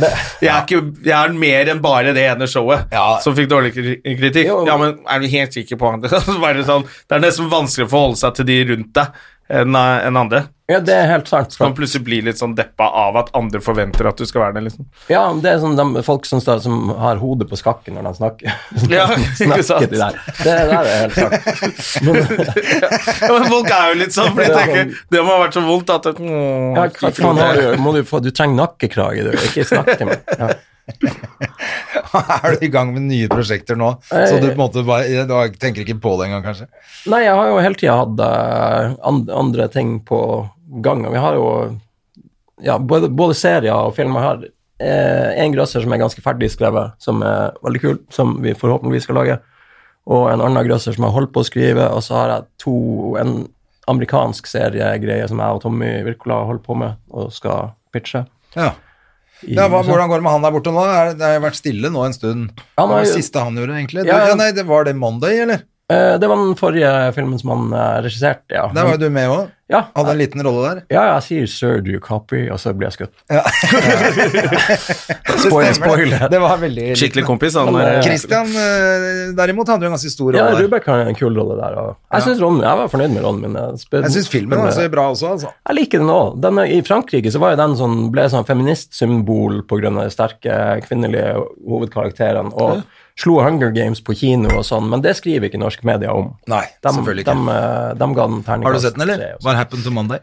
Jeg er, ikke, jeg er mer enn bare det ene showet Ja. som fikk dårlig kri- kritikk. Jo. Ja, men er du helt sikker på det? Så bare sånn, det er nesten vanskeligere å forholde seg til de rundt deg enn eh, enn andre. Ja, det er helt sant. Man plutselig blir litt sånn deppa av at andre forventer at du skal være der, liksom. Ja, det er sånn de, folk som, står, som har hodet på skakken når de snakker. Ja, ikke sant? snakker de der. Det der er helt sant. Ja, men folk er jo litt sånn, for de tenker Det må ha vært så vondt at det, Ja, hva faen har du, må du, få, du trenger nakkekrage, du. Ikke snakk til meg. Ja. Er du i gang med nye prosjekter nå? Så du på en måte bare Du tenker ikke på det engang, kanskje? Nei, jeg har jo hele tida hatt eh, and- andre ting på gang. Og vi har jo ja, både, både serier og film. Jeg har eh, en grøsser som er ganske ferdig skrevet, som er veldig kul, som vi forhåpentligvis skal lage. Og en annen grøsser som jeg har holdt på å skrive. Og så har jeg to en amerikansk seriegreie som jeg og Tommy Wirkola holder på med og skal pitche. Ja. i- ja hva, hvordan går det med han der borte nå? Er, det- det har jo vært stille nå en stund. Ja, Hva var det nei, siste han gjorde, egentlig? Du, Ja, ja, ja. nei, det Var det Monday, eller? eh, det var den forrige filmen som han eh, regisserte, ja. Der var jo du med òg. ja, Hadde en liten rolle der. Ja, jeg sier 'sir, do you copy?', og så blir jeg skutt. Det Spoiler, stemmer det. spoiler. Det var veldig Skikkelig kompis, han Men, eh, eh, Christian eh, derimot hadde jo en ganske stor Ja, rolle der. Rubek har en kul rolle der. Og jeg, synes rollen, jeg var fornøyd med rollen min. Jeg, spør- Jeg syns filmen var så bra også, altså. Jeg liker den òg. I Frankrike så var jo den sånn, ble sånn feministsymbol pga. de sterke kvinnelige hovedkarakterene, og slo Hunger Games på kino og sånn, men det skriver ikke norsk media om. Nei, De, selvfølgelig de, ikke. eh, de ga den terningkast Har du sett den, tre eller? og sånn. What happened to Monday?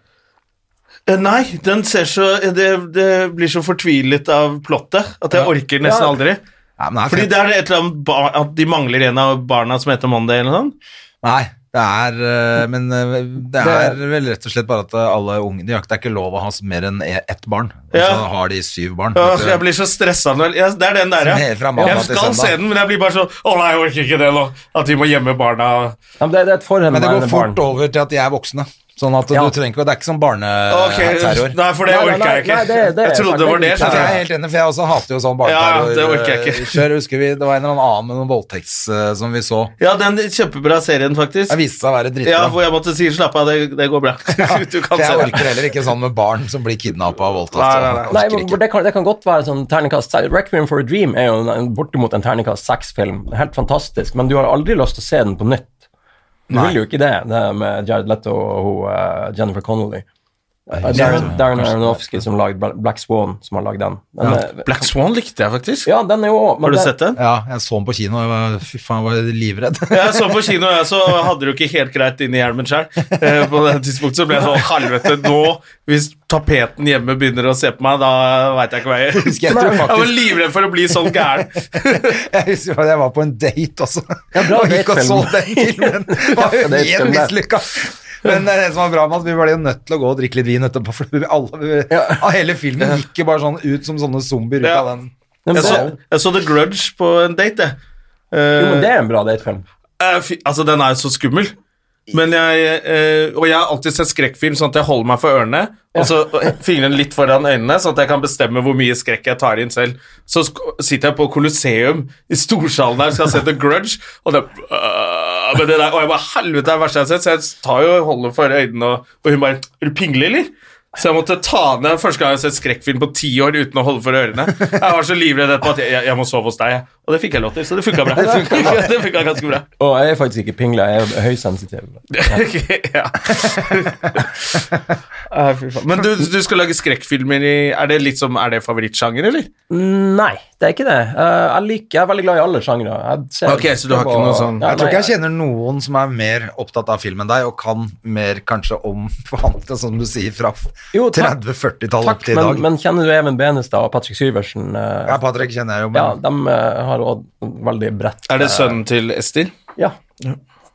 eh, Nei, den ser så det, det blir så fortvilet av plottet at jeg orker nesten Ja. aldri. Nei, men det er Fordi fett. det er et eller annet bar, at de mangler en av barna som heter Monday eller noe sånt. Nei, det er øh, Men øh, det er vel rett og slett bare at øh, alle unge de har, Det er ikke lov å ha mer enn e- ett barn. Og så Ja. har de syv barn. Åh, vet du. Jeg blir så stressa når ja, Det er den der, Som er fra ja. mandag Jeg til skal se søndag. den, men jeg blir bare sånn Å nei, jeg orker ikke det nå. At de må gjemme barna. Ja, men det, det er et men det går forhenværende fort barn. over til at de er voksne. Sånn at Ja. du trenger ikke Det er ikke sånn Ok, barneterror. Nei, for det Nei, nei, orker jeg nei, ikke. nei, det- det Jeg er trodde det faktisk var det. ikke- Nei, for skjønner jeg er jeg. helt enig, for jeg også hater jo sånn Ja, barneterror. det orker jeg ikke. øh, Kjør, husker vi, Det var en eller annen annen med noen voldtekts øh, som vi så. Ja, den kjempebra serien, faktisk. Det viste seg å være dritbra. Ja, hvor jeg måtte si 'slapp av, det, det går bra'. Du For kan se jeg det. orker heller ikke sånn med barn som blir kidnappa og voldtatt. Nei, nei, nei. Jeg orker Nei, men ikke. det kan, det kan godt være sånn terningkast Requiem for a Dream er jo en- en, bortimot en terningkast seks-film. Helt fantastisk, men du har aldri lyst til å se den på nytt. Du vil jo ikke det, det med Jared Leto og hun, eh, Jennifer Connolly. Det er Darren Aronofsky som lagde Bla- Black Swan, som har lagd den. den er, Black Swan likte jeg faktisk. ja, den er jo også- men Har du den- sett den? Ja, jeg så den på kino, og jeg var, fy faen, jeg var livredd. Jeg så på kino, jeg, så hadde det jo ikke helt greit inni hjelmen sjøl. På det tidspunktet så ble jeg sånn Helvete, nå Hvis tapeten hjemme begynner å se på meg, da veit jeg ikke hva jeg gjør. jeg tror faktisk- var livredd for å bli sånn gæren. Jeg husker bare jeg var på en date også, bra og gikk og så datefilm. den filmen. Det var jo Ja, datefilm, helt det. mislykka. Men det som var bra med at vi var jo nødt til å gå og drikke litt vin etterpå, for vi alle, vi- av hele filmen gikk jo bare sånn ut som sånne zombier ut Ja. av den. den- Jeg så, det- jeg så The Grudge på en date, jeg. Jo, men Eh, det er en bra datefilm. eh, fy- altså, den er jo så skummel. Men jeg, eh, og jeg har alltid sett skrekkfilm sånn at jeg holder meg for ørene og så eh, fingrene litt foran øynene, sånn at jeg kan bestemme hvor mye skrekk jeg tar inn selv. Så sk- sitter jeg på Colosseum i storsalen der skal se The Grudge, og det, øh, men det der, og jeg bare Helvete, det er det verste jeg har sett, så jeg tar jo holder for øynene, og, og hun bare Er du pingle, eller? Så jeg måtte ta ned første gang jeg har sett skrekkfilm på ti år uten å holde for ørene. Jeg var så livredd etterpå at jeg, jeg, jeg må sove hos deg, jeg. og det fikk jeg lov til, så det funka bra. Det funket ganske bra. Og jeg er faktisk ikke pingle, jeg er høysensitiv. ja. Ah, fy faen. Men du, du skal lage skrekkfilmer i Er det litt som, er det favorittsjanger, eller? Nei, det er ikke det. Eh, jeg, liker, jeg er veldig glad i alle sjangre. Jeg ser- Ok, så du har ikke noe sånn- Ja, Jeg tror nei, ikke jeg kjenner noen som er mer opptatt av film enn deg, og kan mer kanskje om forhandlet, som du sier, fra Jo, takk. 30-40-tallet Takk, til i dag. men, men kjenner du Even Benestad og Patrick Syversen? eh, Ja, Patrick kjenner jeg jo, men ja, de eh, har òg veldig bredt Er det sønnen til Ester? Ja.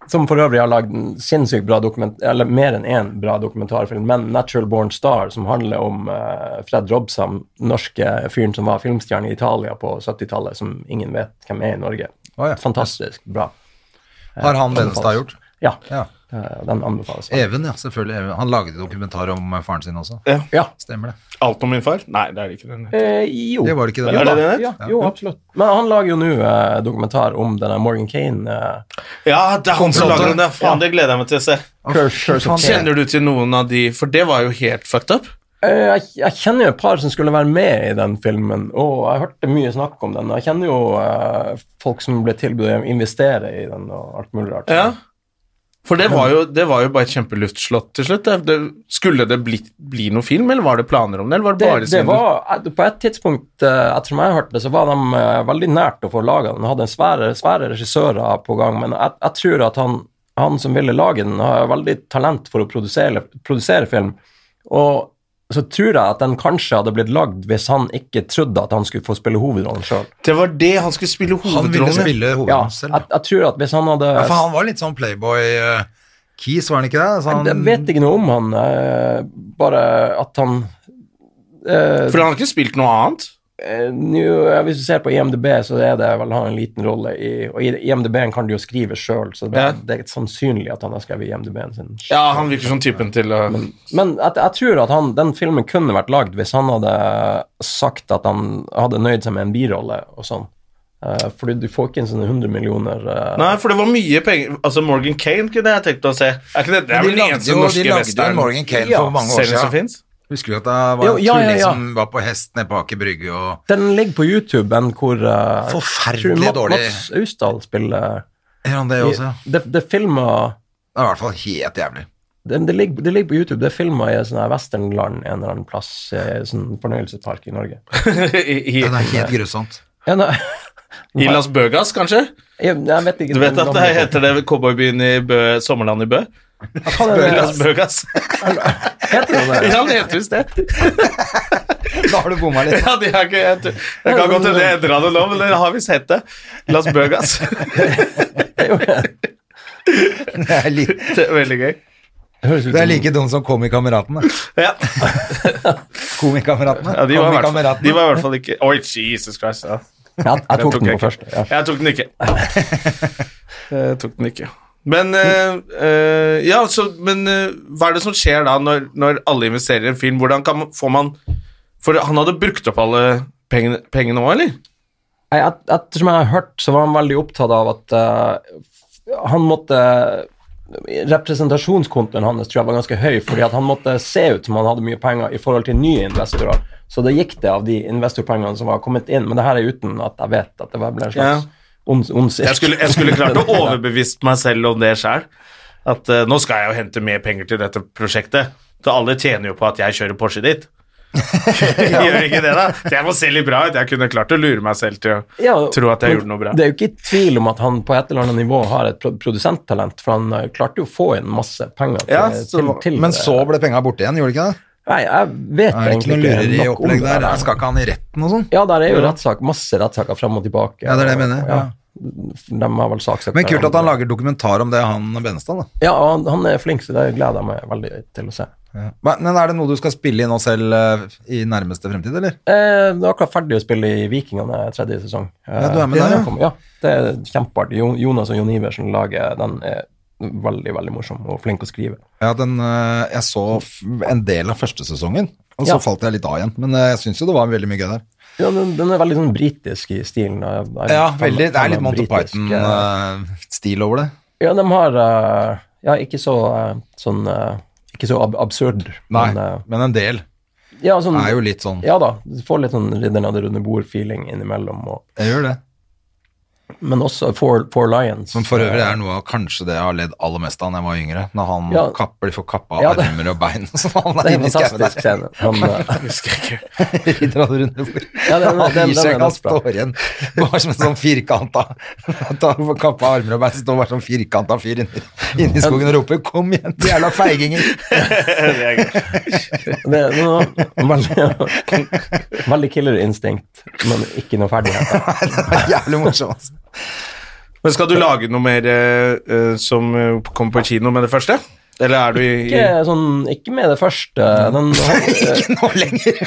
Som for øvrig har lagd en sinnssykt bra dokument... Eller mer enn én bra dokumentarfilm, men 'Natural Born Star', som handler om eh, Fred Robsam, norske fyren som var filmstjerne i Italia på 70-tallet, som ingen vet hvem er i Norge. Å, ja. Fantastisk bra. har han Benestad gjort? Ja. Ja. Eh, den anbefales. Even, ja, selvfølgelig. Even. Han lagde dokumentar om eh, faren sin også. Ja. Stemmer det. Alt om min far? Nei, det er det ikke. Den. Eh, jo. Det var det ikke det. Jo, Er det da. det? Ja, jo, absolutt. Men han lager jo nå eh, dokumentar om denne Morgan Kane. eh, Ja, det er han som Kontroll. lager den! der. Faen, det gleder jeg meg til å se. Curse- Curse of Kane. Kjenner du til noen av de For det var jo helt fucked up. Eh, Jeg, jeg kjenner jo et par som skulle være med i den filmen, og jeg hørte mye snakk om den. Jeg kjenner jo eh, folk som ble tilbudt å investere i den og alt mulig rart. Ja. For det var jo, det var jo bare et kjempeluftslott til slutt. Det, det, skulle det bli, bli noe film, eller var det planer om det? Eller var det Det, bare det siden du- var, eh, på et tidspunkt, eh, etter som jeg hørte det, så var de eh, veldig nært å få laga den. De hadde en svære, svære regissører på gang, men jeg, jeg tror at han, han som ville lage den, har veldig talent for å produsere, produsere film. Og så tror jeg at den kanskje hadde blitt lagd hvis han ikke trodde at han skulle få spille hovedrollen sjøl. det var det han skulle spille Han ville hovedrollen i. spille Ja, hovedrollen selv. jeg, jeg tror at hvis han hadde Ja, for han var litt sånn playboy eh, Keys, var han ikke det? Sånn- Så han, Jeg vet ikke noe om han, eh, bare at han eh, For han har ikke spilt noe annet. eh, nå, eh, Hvis du ser på IMDb, så er det vel han en liten rolle i Og i IMDb-en kan du jo skrive sjøl, så det, Ja. det er sannsynlig at han har skrevet IMDb-en sin. Ja, han virker som typen til å Men jeg, jeg tror at han, den filmen kunne vært lagd hvis han hadde sagt at han hadde nøyd seg med en birolle og sånn. Eh, fordi du får ikke inn sånne 100 millioner eh, Nei, for det var mye penger Altså, Morgan Kane kunne jeg tenkt å se. Er ikke det, det er vel Men de den lagde eneste jo, de norske lagde jo en western Morgan Kane Ja, for mange år serien som siden. fins? Husker du at det var Jo, en ja, ja, tulling ja. som var på hest nede på Aker Brygge og Den ligger på YouTube, en hvor eh, Forferdelig tror Mat- dårlig. Mats Austdal spiller Er han det også? ja? altså. Det, det er filmer Det er i hvert fall helt jævlig. det, det, ligger, det ligger på YouTube. Det er filma i sånn her westernland en eller annen plass. eh, Sånn fornøyelsespark i Norge. I, i, Ja, det er helt grusomt. Ja, nei, I Las Bøgas, kanskje? jeg, jeg vet ikke Du vet at det heter det cowboybyen i Bø, Sommerland i Bø? Hva er det- Las Bøgas. Heter det det? Ja, det heter visst det. Da har du bomma litt. Ja, de har ikke, jeg, tror- det kan godt hende jeg endra det nå, men det har visst hett det. Las Bøgas. Det er jo- Det er, li Det er veldig gøy. det høres ut det er som like dumt som Komikameratene. Ja, Komikameratene. ja de, var i hvert fall, Komikameratene. de var i hvert fall ikke Oi, Jesus Christ. Ja. Jeg, jeg tok tok den jeg på ikke. første. Ja. Jeg tok den ikke. Jeg tok den ikke. Men eh, eh, Ja, så Men eh, hva er det som skjer da, når, når alle investerer i en film? Hvordan kan man, får man For han hadde brukt opp alle pengene, pengene også, eller? Nei, et, ettersom jeg har hørt, så var han veldig opptatt av at eh, f- han måtte Representasjonskontoen hans tror jeg var ganske høy, fordi at han måtte se ut som han hadde mye penger i forhold til nye investorer. Så det gikk det av de investorpengene som var kommet inn, men det her er uten at jeg vet at det ble en slags Ja. ond ond sirkel. Jeg skulle, jeg skulle klart å overbevist meg selv om det sjøl. at eh, nå skal jeg jo hente mer penger til dette prosjektet. Så alle tjener jo på at jeg kjører Porsche dit. Gjør ikke det, da? Så jeg må se litt bra ut. Jeg kunne klart å lure meg selv til å Ja, tro at jeg men gjorde noe bra. Det er jo ikke tvil om at han på et eller annet nivå har et pro- produsenttalent, for han eh, klarte jo å få inn masse penger til, Ja, til, så- til Men det. så ble penga borte igjen, gjorde det ikke det? Nei, jeg Er det ikke vet noe egentlig ikke lureri i nok om opplegg det der? der. Skal ikke han i retten og sånn? Ja, der er jo rettssak, masse rettssaker frem og tilbake. Ja, det er det jeg mener, og- ja. De har vel saksøkt Men kult at han hverandre. lager dokumentar om det, han Benestad, da. Ja, og han, han er flink, så det gleder jeg meg veldig til å se. Men men er det noe du skal spille i nå selv eh, i nærmeste fremtid, eller? Eh, du er akkurat ferdig å spille i Vikingene tredje sesong. Eh, Ja, du er med der, ja. kommer- ja. Det er kjempeartig. Jo- Jonas og Jon Iversen lager den er veldig, veldig morsom og flink å skrive. Ja, den, eh, jeg så f- en del av første sesongen, og så Ja. falt jeg litt av igjen. Men eh, jeg syns jo det var veldig mye gøy der. Ja, den, den er veldig sånn britisk i stilen. og jeg- jeg- Ja, fan- veldig, det fan er litt av Monty britisk, eh, Python-stil over det. Ja, de har eh, Ja, ikke så eh, sånn eh, Ikke så ab absurd. Nei, men, eh, men en del ja, sånn, er jo litt sånn. Ja da. Du får litt sånn Ridderen av det runde bord-feeling innimellom. Og, Jeg gjør det. men også Four, Four Lions. eh, Som for øvrig er noe av kanskje det jeg har ledd aller mest av da jeg var yngre. Når han Ja. kapper, de får kappa av Ja, det- armer og bein. Så han det er er en inne i skauen der. fantastisk scene. Han, eh, Ridder av det runde bord. Ja, den- den- han den gir seg ikke, er han mest bra. står igjen. Bare som en sånn firkanta At han får kappa av armer og bein, så står bare sånn firkanta fyr inni inni skogen og roper 'kom igjen, de jævla feiginger'. Det er noe, veldig, veldig killerinstinkt, men ikke noe ferdighet. Det var jævlig morsomt. altså. Men skal du lage noe mer eh, eh, som eh, kommer på kino med det første? Eller er du i, i Ikke, sånn, ikke med det første. Den, Ikke nå lenger.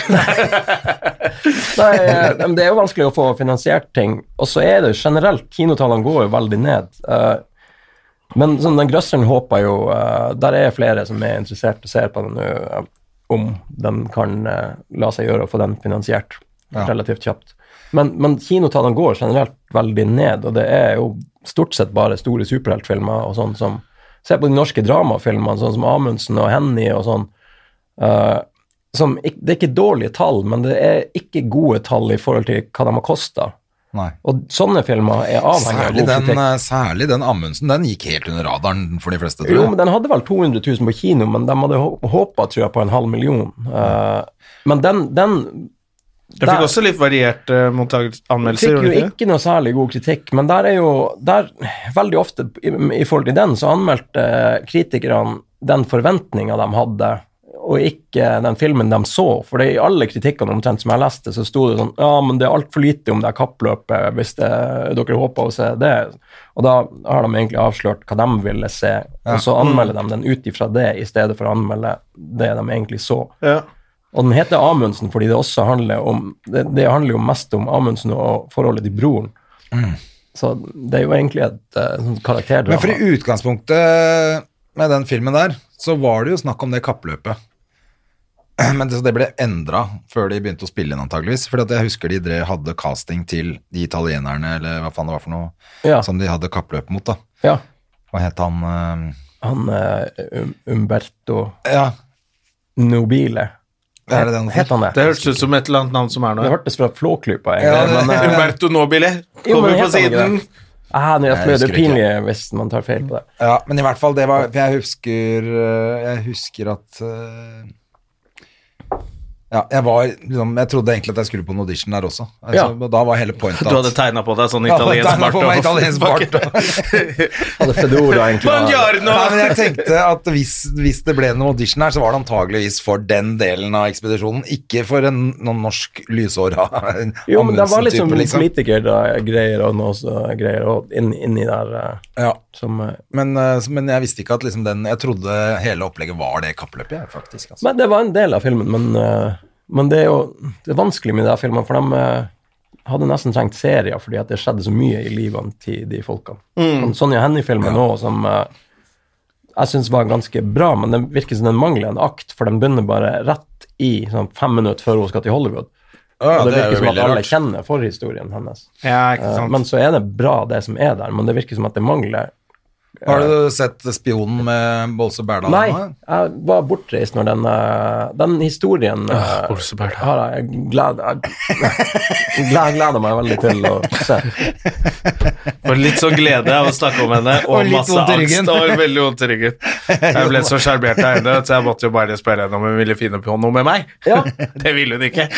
nei, eh, men det er jo vanskelig å få finansiert ting, og så er det jo generelt Kinotallene går jo veldig ned. Eh, Men sånn, den grøsseren håper jo eh, Der er flere som er interessert og ser på den nå, eh, om den kan eh, la seg gjøre å få den finansiert Ja. relativt kjapt. Men, men kinotallene går generelt veldig ned, og det er jo stort sett bare store superheltfilmer og sånn som Se på de norske dramafilmene, sånn som Amundsen og Henny og sånn. eh, som, ikk- det er ikke dårlige tall, men det er ikke gode tall i forhold til hva de har kosta. Nei. Og sånne filmer er avhengig av Særlig god den, kritikk. eh, særlig den Amundsen, den gikk helt under radaren for de fleste, tror Jo, jeg. men den hadde vel 200 000 på kino, men de hadde håpa, tror jeg, på en halv million. Eh, men den, den Jeg fikk der også litt variert uh, anmeldelser. fikk gjorde jo du ikke det? ikke noe særlig god kritikk, men der er jo der, Veldig ofte i, i forhold til den, så anmeldte kritikerne den forventninga de hadde, og ikke den filmen de så. For det, i alle kritikkene omtrent som jeg leste, så sto det sånn Ja, men det er altfor lite om det her kappløpet, hvis det, dere håper å se det. Og da har de egentlig avslørt hva de ville se, og så anmelder de den ut ifra det, i stedet for å anmelde det de egentlig så. Ja. Og den heter Amundsen fordi det også handler om Det, det handler jo mest om Amundsen og forholdet til broren. Så det er jo egentlig et eh, sånn karakterdrama. Mm. Men for i utgangspunktet med den filmen der, så var det jo snakk om det kappløpet. Men det, så det ble endra før de begynte å spille inn, antageligvis. For jeg husker de drev, hadde casting til de italienerne, eller hva faen det var for noe, Ja. som de hadde kappløp mot, da. ja. Hva het han eh, Han eh, um, Umberto Ja, Nobile. er det den Het han det? Det hørtes ut som et eller annet navn som er Det noe. hørtes fra Flåklypa, Ja, egentlig. det- men, eh, Umberto Nobile kommer Jo, men på heter han siden. ikke ah, nå er jeg Nei, jeg fløy. det er husker ikke. pinlig hvis man tar feil på det. Ja, men i hvert fall, det var for Jeg husker øh, Jeg husker at øh, Ja, jeg var liksom Jeg trodde egentlig at jeg skulle på en audition der også. Altså, Ja. og Da var hele pointet Du hadde tegna på deg sånn Ja, jeg italiensk tegnet på meg italiensk bart. Hadde Fedora egentlig var- Buongiorno! Nei, men jeg tenkte at hvis, hvis det ble noen audition her, så var det antageligvis for den delen av ekspedisjonen, ikke for en, noen norsk lyshåra Jo, men det var liksom Amundsen-type, politikergreier og noe så greier og inn, inni der eh, Ja, som eh, men, øh, men jeg visste ikke at liksom den Jeg trodde hele opplegget var det kappløpet, jeg, faktisk. Altså. Men det var en del av filmen, men, eh, men det er jo det er vanskelig med de her filmene, for de eh, hadde nesten trengt serier, fordi at det skjedde så mye i livene til de folkene. Mm. Sånn Sonja Hennie-filmen òg, som eh, jeg syns var ganske bra, men den virker som den mangler en akt, for den begynner bare rett i sånn fem minutter før hun skal til Hollywood. Ja, og det det, er jo virker som veldig at alle rart. kjenner forhistorien hennes. Ja, ikke Eh, sant. Men så er det bra, det som er der, men det virker som at det mangler Har du sett Spionen med Bolse Berdal? Nei, nå? jeg var bortreist når den, eh, den historien eh, Bolse Berdal. har jeg jeg gled, jeg, jeg gled- gleder meg veldig til å se. Og litt sånn glede av å snakke om henne, og, Og litt masse vondt i ryggen. angst. Og veldig vondt i ryggen. Jeg ble så sjarmert av henne, så jeg måtte jo bare spørre henne om hun ville finne på noe med meg. Ja. Det ville hun ikke.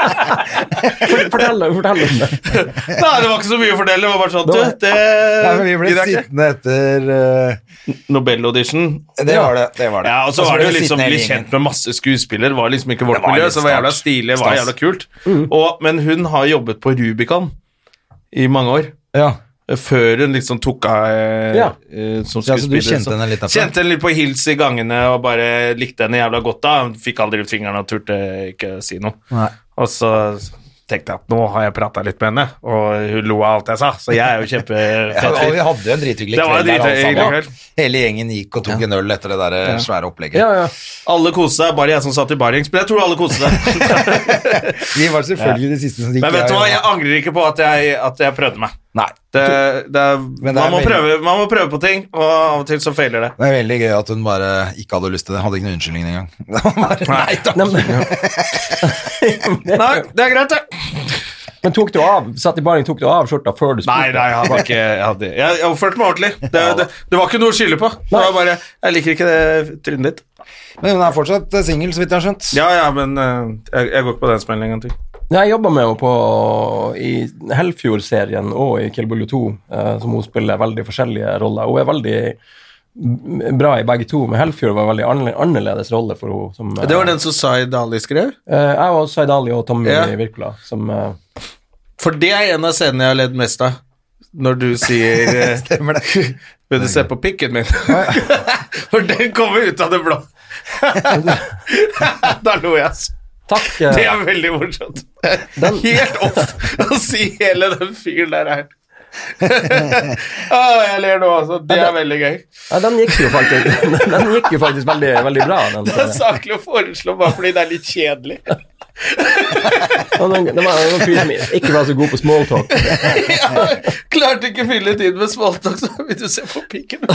Fort- Fortell, fortell om det. Nei, det var ikke så mye å fordele. Det var bare sånn, du, det Eh, Nei, men vi ble gidder jeg ikke. sittende etter eh, Nobel-audition. Det var det. det, var det. Ja, og så var ble det jo vi liksom sittende hele bli kjent med masse skuespillere. Var liksom ikke vårt var miljø, litt så det var jævla stas. stilig, det var Stas. Mm. jævla kult. Og, men hun har jobbet på Rubicon i mange år. gjengen. Ja. Før hun liksom tok av eh, Ja. eh, som Ja, så du skuespiller. kjente henne litt derfra? Kjente henne litt på hils i gangene og bare likte henne jævla godt da. Hun fikk aldri ut fingeren og turte ikke si noe. Nei. Og så tenkte jeg at nå har jeg prata litt med henne, og hun lo av alt jeg sa, så jeg er jo Ja, kjempefet og vi fyr. hadde jo en drithyggelig Det var kveld der, alle drithyggelig sammen. kveld. Hele gjengen gikk og tok en øl etter det der eh, svære opplegget. Ja, ja. Alle koste seg, bare jeg som satt i barings, men jeg tror alle koste seg. Vi var selvfølgelig de siste som gikk. Men vet du hva, ja. jeg angrer ikke på at jeg, at jeg prøvde meg. Nei. Det, det, er- Men det er man, må veldig- prøve, man må prøve på ting, og av og til så feiler det. Det er veldig gøy at hun bare ikke hadde lyst til det. Hadde ikke noen unnskyldning engang. Det var bare, Nei, da. Nei, men, Nei, det er greit, det. men tok du av, satt i baren, tok du av skjorta før du Nei, nei, jeg hadde ikke Jeg, hadde, jeg, jeg oppførte meg ordentlig. Det, det, det var ikke noe å skylde på. Det var bare Jeg liker ikke det trynet ditt. Men hun er fortsatt singel, så vidt jeg har skjønt. Ja, ja, men eh, jeg, jeg går ikke på den smellen en gang til. Nei, jeg jobba med henne på, i Hellfjord-serien og i Kill Bullo 2, eh, som hun spiller veldig forskjellige roller. Hun er veldig b- bra i begge to, men Hellfjord var en veldig annerle- annerledes rolle for henne. Som, eh, Det var den som Zaid Ali skrev. eh, jeg og Zaid Ali og Tommy Ja. Wirkola. Som, eh, For det er en av scenene jeg har ledd mest av. Når du sier eh, Stemmer det. Vil du se på pikken min? For den kommer ut av det blå. da lo jeg. ass. takk, Det eh, er veldig morsomt. Helt off å si hele den fyren der her. Å, jeg ler nå, altså. Det er veldig gøy. ja, den gikk jo faktisk, den gikk jo faktisk veldig, veldig bra. Den, eh, Det er saklig å foreslå bare fordi det er litt kjedelig. Og den, den var en fyr som ikke var så god på smalltalk. Jeg klarte ikke å fylle tiden med smalltalk, så vil du se på pikken. Å,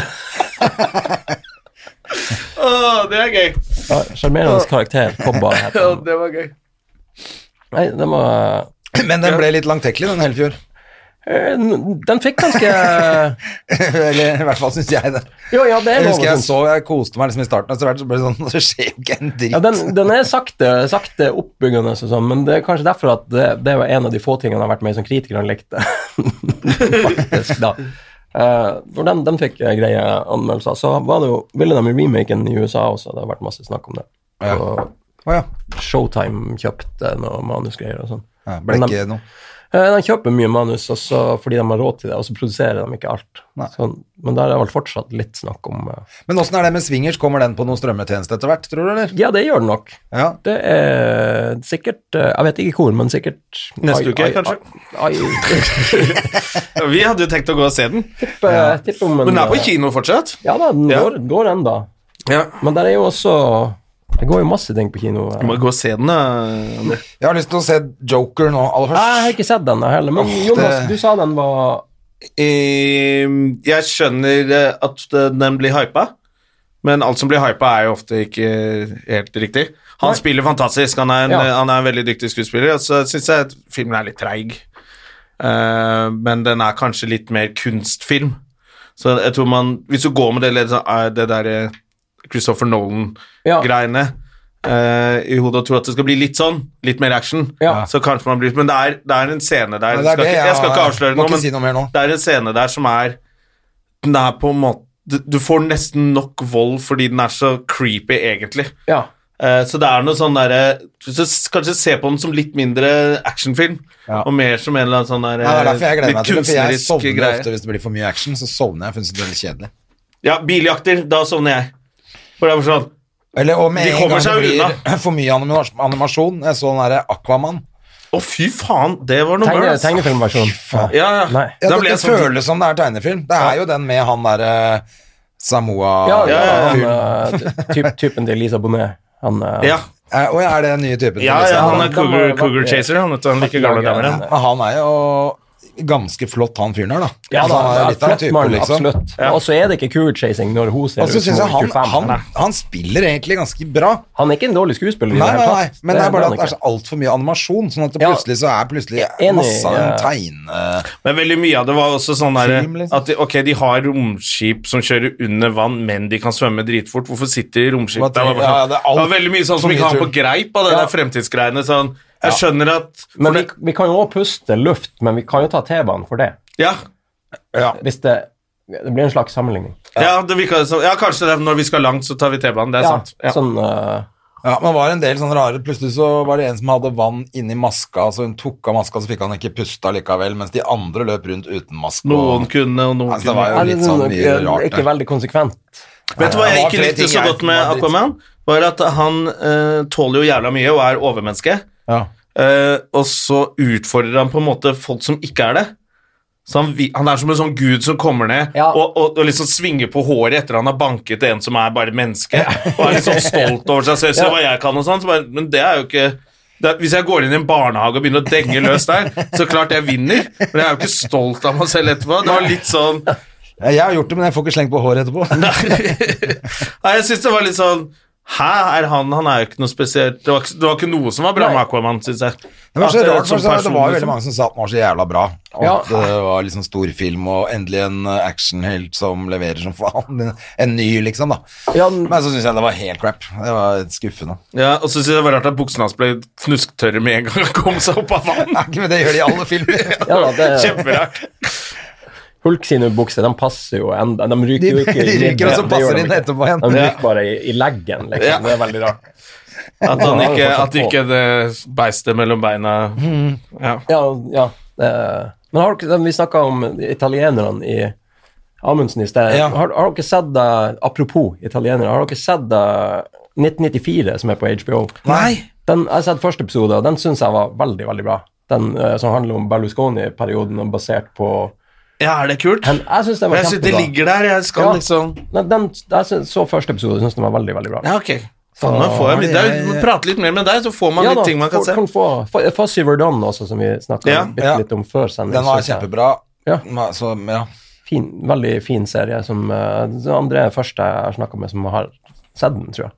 det er gøy. Ja, Sjarmerende karakter. Kobba. het Å, han. det var gøy. Nei, den var Men den ble litt langtekkelig, den Helfjord. eh, n- Den fikk ganske Eller i hvert fall syns jeg det. Jo, ja, det er Jeg lov husker å jeg synes. så, jeg koste meg liksom i starten, og etter hvert så ble det sånn Det skjer jo ikke en dritt. Ja, den, den er sakte, sakte oppbyggende, og sånn, men det er kanskje derfor at det, det var en av de få tingene jeg har vært med i som kritiker han likte. Faktisk, da. Eh, for den, den fikk eh, greie anmeldelser. Så var det jo, ville de remaken i USA også, det har vært masse snakk om det. Og Å ja. Showtime kjøpte noe manusgreier og sånn. ja. Ble Men de- ikke noe. Eh, De kjøper mye manus og så- fordi de har råd til det, og så produserer de ikke alt. Sånn, men der er vel fortsatt litt snakk om eh, Men åssen er det med swingers? Kommer den på noen strømmetjeneste etter hvert, tror du, eller? Ja, det gjør det nok. Ja. Det er sikkert eh, Jeg vet ikke hvor, men sikkert Neste Ai, uke, ai, kanskje? ai, ai, Vi hadde jo tenkt å gå og se den. Tippe, tippe om en Men den er på kino fortsatt. Ja da, den Ja. går, går ennå. Ja. Men der er jo også Det går jo masse ting på kino. eh. Du må gå og se den, da. Jeg har lyst til å se Joker nå aller Nei, Jeg har først. ikke sett den jeg heller, men Åh, Jonas, det- du sa den var Ehm, Jeg skjønner eh, at den blir hypa, men alt som blir hypa, er jo ofte ikke helt riktig. Han spiller fantastisk, han er en, Ja. han er en veldig dyktig skuespiller, og så syns jeg at filmen er litt treig. Eh, men den er kanskje litt mer kunstfilm. Så jeg tror man Hvis du går med det, litt sånn, eh, det der eh, Christopher Ja. Nolan-greiene eh, i hodet og tror at det skal bli litt sånn, litt mer action, Ja. så kanskje man blir Men det er, det er en scene der Men det er skal det ikke, jeg jeg skal ikke har- avsløre noe, må ikke si noe mer nå. det er en scene der som er Den er på en måte du- Du får nesten nok vold fordi den er så creepy, egentlig. Ja. Eh, så det er noe sånn derre du skal s- Kanskje se på den som litt mindre actionfilm, og mer som en eller annen sånn der, Nei, det er derfor jeg eh, gleder meg til det, for jeg kunstnerisk sovner greie. ofte hvis det blir for mye action. Så sovner jeg, for jeg synes det er litt kjedelig. Ja, biljakter. Da sovner jeg. For det er bare sånn Eller, og med De en kommer gang det seg blir for mye animas- animasjon Jeg så den derre Aquaman. Å, fy faen, det var noe tegne, mørkt. tegnefilmversjon. Ja, ja. Nei. Ja, Da det ble jeg det sånn- føles som det er tegnefilm. Det er jo den med han derre Samoa Ja, ja, ja, han, eh, typ, typen til Lisa Bonnet. Han eh, Ja, Eh, Og er det den nye typen? til ja, Lisa? ja han er Da må cougar, jeg bare- cougar chaser, han, vet du. Han liker gamle damer, Ja, han. men han er jo ganske flott, han fyren her, da. Ja da, Altså, det han er er litt av en flott type, mann, liksom. absolutt. Og så er det ikke cool-chasing når hun ser Og så ut som synes jeg hun er han, 25. han, Nei. han spiller egentlig ganske bra. han er ikke en dårlig skuespiller. i Nei, det nei, hele nei, tatt. men det er bare han at altså, det er ikke. så altfor mye animasjon, sånn at det Ja. plutselig så er plutselig Jeg er enig, masse av den ja. tegne... Men veldig mye av det var også sånn der, Film, liksom. at de, ok, de har romskip som kjører under vann, men de kan svømme dritfort. Hvorfor sitter de i romskip Hva der? Det var, bare tenker- ja, sånn- ja, det er alt- det var veldig mye sånn for som mye ikke har på tull. greip av det Ja. der fremtidsgreiene. Sånn. Jeg skjønner at for Men vi, det, vi kan jo også puste luft, men vi kan jo ta T-banen for det. ja, Hvis det, det blir en slags sammenligning. ja, det virka sånn. Ja, kanskje det, er når vi skal langt, så tar vi T-banen. Det er sant. Ja. Sånn, eh, Ja, men det var en del sånne rare Plutselig så var det en som hadde vann inni maska, så hun tok av maska, så fikk han ikke puste likevel, mens de andre løp rundt uten maske. Noen kunne, og noen Altså, det kunne. var jo litt sånn er mye det noe- rart. ikke der. veldig konsekvent. Vet du hva jeg Ja, det ikke var flere likte ting så jeg godt med var dritt- Aquaman? Var at han eh, tåler jo jævla mye og er overmenneske. Ja. Eh, og så utfordrer han på en måte folk som ikke er det. Så han, vi- han er som en sånn gud som kommer ned Ja. og, og, og liksom svinger på håret etter han har banket en som er bare menneske, og er liksom stolt over seg selv. Se hva jeg kan, og sånn. Så bare, men det er jo ikke det er, Hvis jeg går inn i en barnehage og begynner å denge løs der, så klart jeg vinner, men jeg er jo ikke stolt av meg selv etterpå. Det var litt sånn Ja, Jeg har gjort det, men jeg får ikke slengt på håret etterpå. Nei, jeg syns det var litt sånn Hæ, er han Han er jo ikke noe spesielt Det var, ikke- det var ikke noe som var bra med Aquaman, syns jeg. Det var så At, eh, rart, som for så- det person, var jo liksom. veldig mange som sa at den var så jævla bra. Og Ja. at det var liksom storfilm, og endelig en eh, actionhelt som leverer som faen. En- En ny, liksom, da. Ja, den- Men så syns jeg det var helt crap. Det var skuffende. Ja, og så synes jeg det var rart at buksene hans ble knusktørre med en gang han kom seg opp av vann. Nei, men det gjør de i alle filmer. Ja, da, det, Kjemperart. Hulk sine bukser de passer jo enda. De ryker jo ikke. i De ryker, ribben, og så det passer gjør de inn ikke. etterpå igjen. De Ja. ryker bare i, i leggen, liksom. Ja. Det er veldig rart. At han Ja, det ikke, er fortsatt at ikke det beistet mellom beina ja. Ja, ja. det- Men har dere, vi snakka om italienerne i Amundsen i sted. Ja. Har, har dere sett det, Apropos italienere, har dere sett det 1994 som er på HBO? Nei. Den, jeg har sett første episode, og den syns jeg var veldig, veldig bra. Den eh, som handler om Berlusconi-perioden og basert på ja, er det kult? Men jeg syns den var Jeg synes det kjempebra. ligger der. Jeg skal Ja. liksom Nei, den, jeg syns- så første episode og syntes den var veldig, veldig bra. Ja, ok. Faen, nå får jeg litt, det er jo- Prate litt mer med deg, så får man Ja litt da, ting man kan folk se. kan få- få- Fuzzy Verdon også, som vi snakka Ja, bitte ja. litt om før sending. Den var synes jeg. kjempebra. Ja. Den var Så, ja. Fin, veldig fin serie som eh, så André er første jeg har snakka med som har sett den, tror jeg.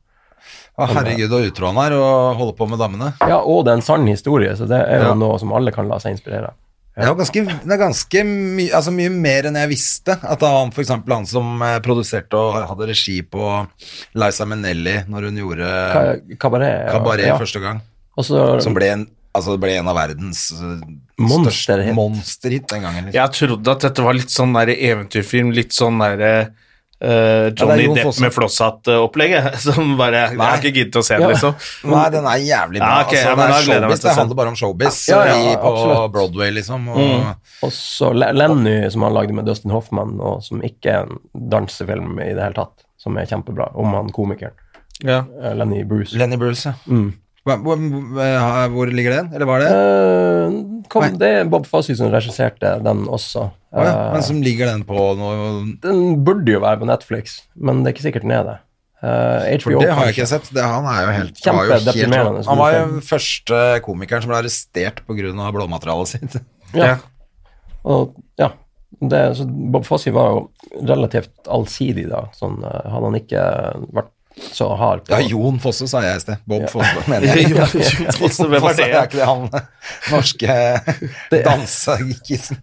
Å, herregud, og utro han er, og holder på med damene. Ja, Og det er en sann historie, så det er jo Ja. noe som alle kan la seg inspirere av. Det er ganske, det er ganske my, altså mye mer enn jeg visste. At han, for eksempel han som eh, produserte og hadde regi på Liza Minnelli når hun gjorde Ka- Kabaret. ja. Kabaret ja. første gang, Og så- som ble en, altså det ble en av verdens eh, Monsterhit. største monsterhit den gangen. Liksom. Jeg trodde at dette var litt sånn der eventyrfilm, litt sånn der eh, Johnny Jon Depp Fosse. med flosshatt-opplegget. Som bare Jeg Nei. har ikke giddet å se Ja. det, liksom. Nei, den er jævlig bra. Ja, ok, ja, altså, men det, da er gleder jeg meg til å showbiz, det se handler bare om showbiz Ja, ja, i, på absolutt. Broadway, liksom. Og, Mm. Og så Le- Lenny, som han lagde med Dustin Hoffman, og som ikke er en dansefilm i det hele tatt, som er kjempebra, om han komikeren. Ja. Mm. Eh, Lenny Bruce. Lenny Bruce, ja. Hva- Hvor, hvor- hvor ligger den? Eller var det? Eh, kom, Nei. det er Bob Fossy som regisserte den også. Eh, Å ja, men som ligger den på noe Den burde jo være på Netflix, men det er ikke sikkert den er det. Eh, For HBO, det har jeg kanskje. ikke sett. Det, han er jo helt, var jo helt Kjempedeprimerende, altså, som Han var du jo første komikeren som ble arrestert pga. blåmaterialet sitt. Ja. Og, ja. Det, så Bob Fossy var jo relativt allsidig da. Sånn, eh, hadde han ikke vært så hard på Ja, Jon Fosse sa jeg i sted. Bob Fosse, mener jeg. Jon Fosse, hvem er Fosse det? er ikke det han norske dansekissen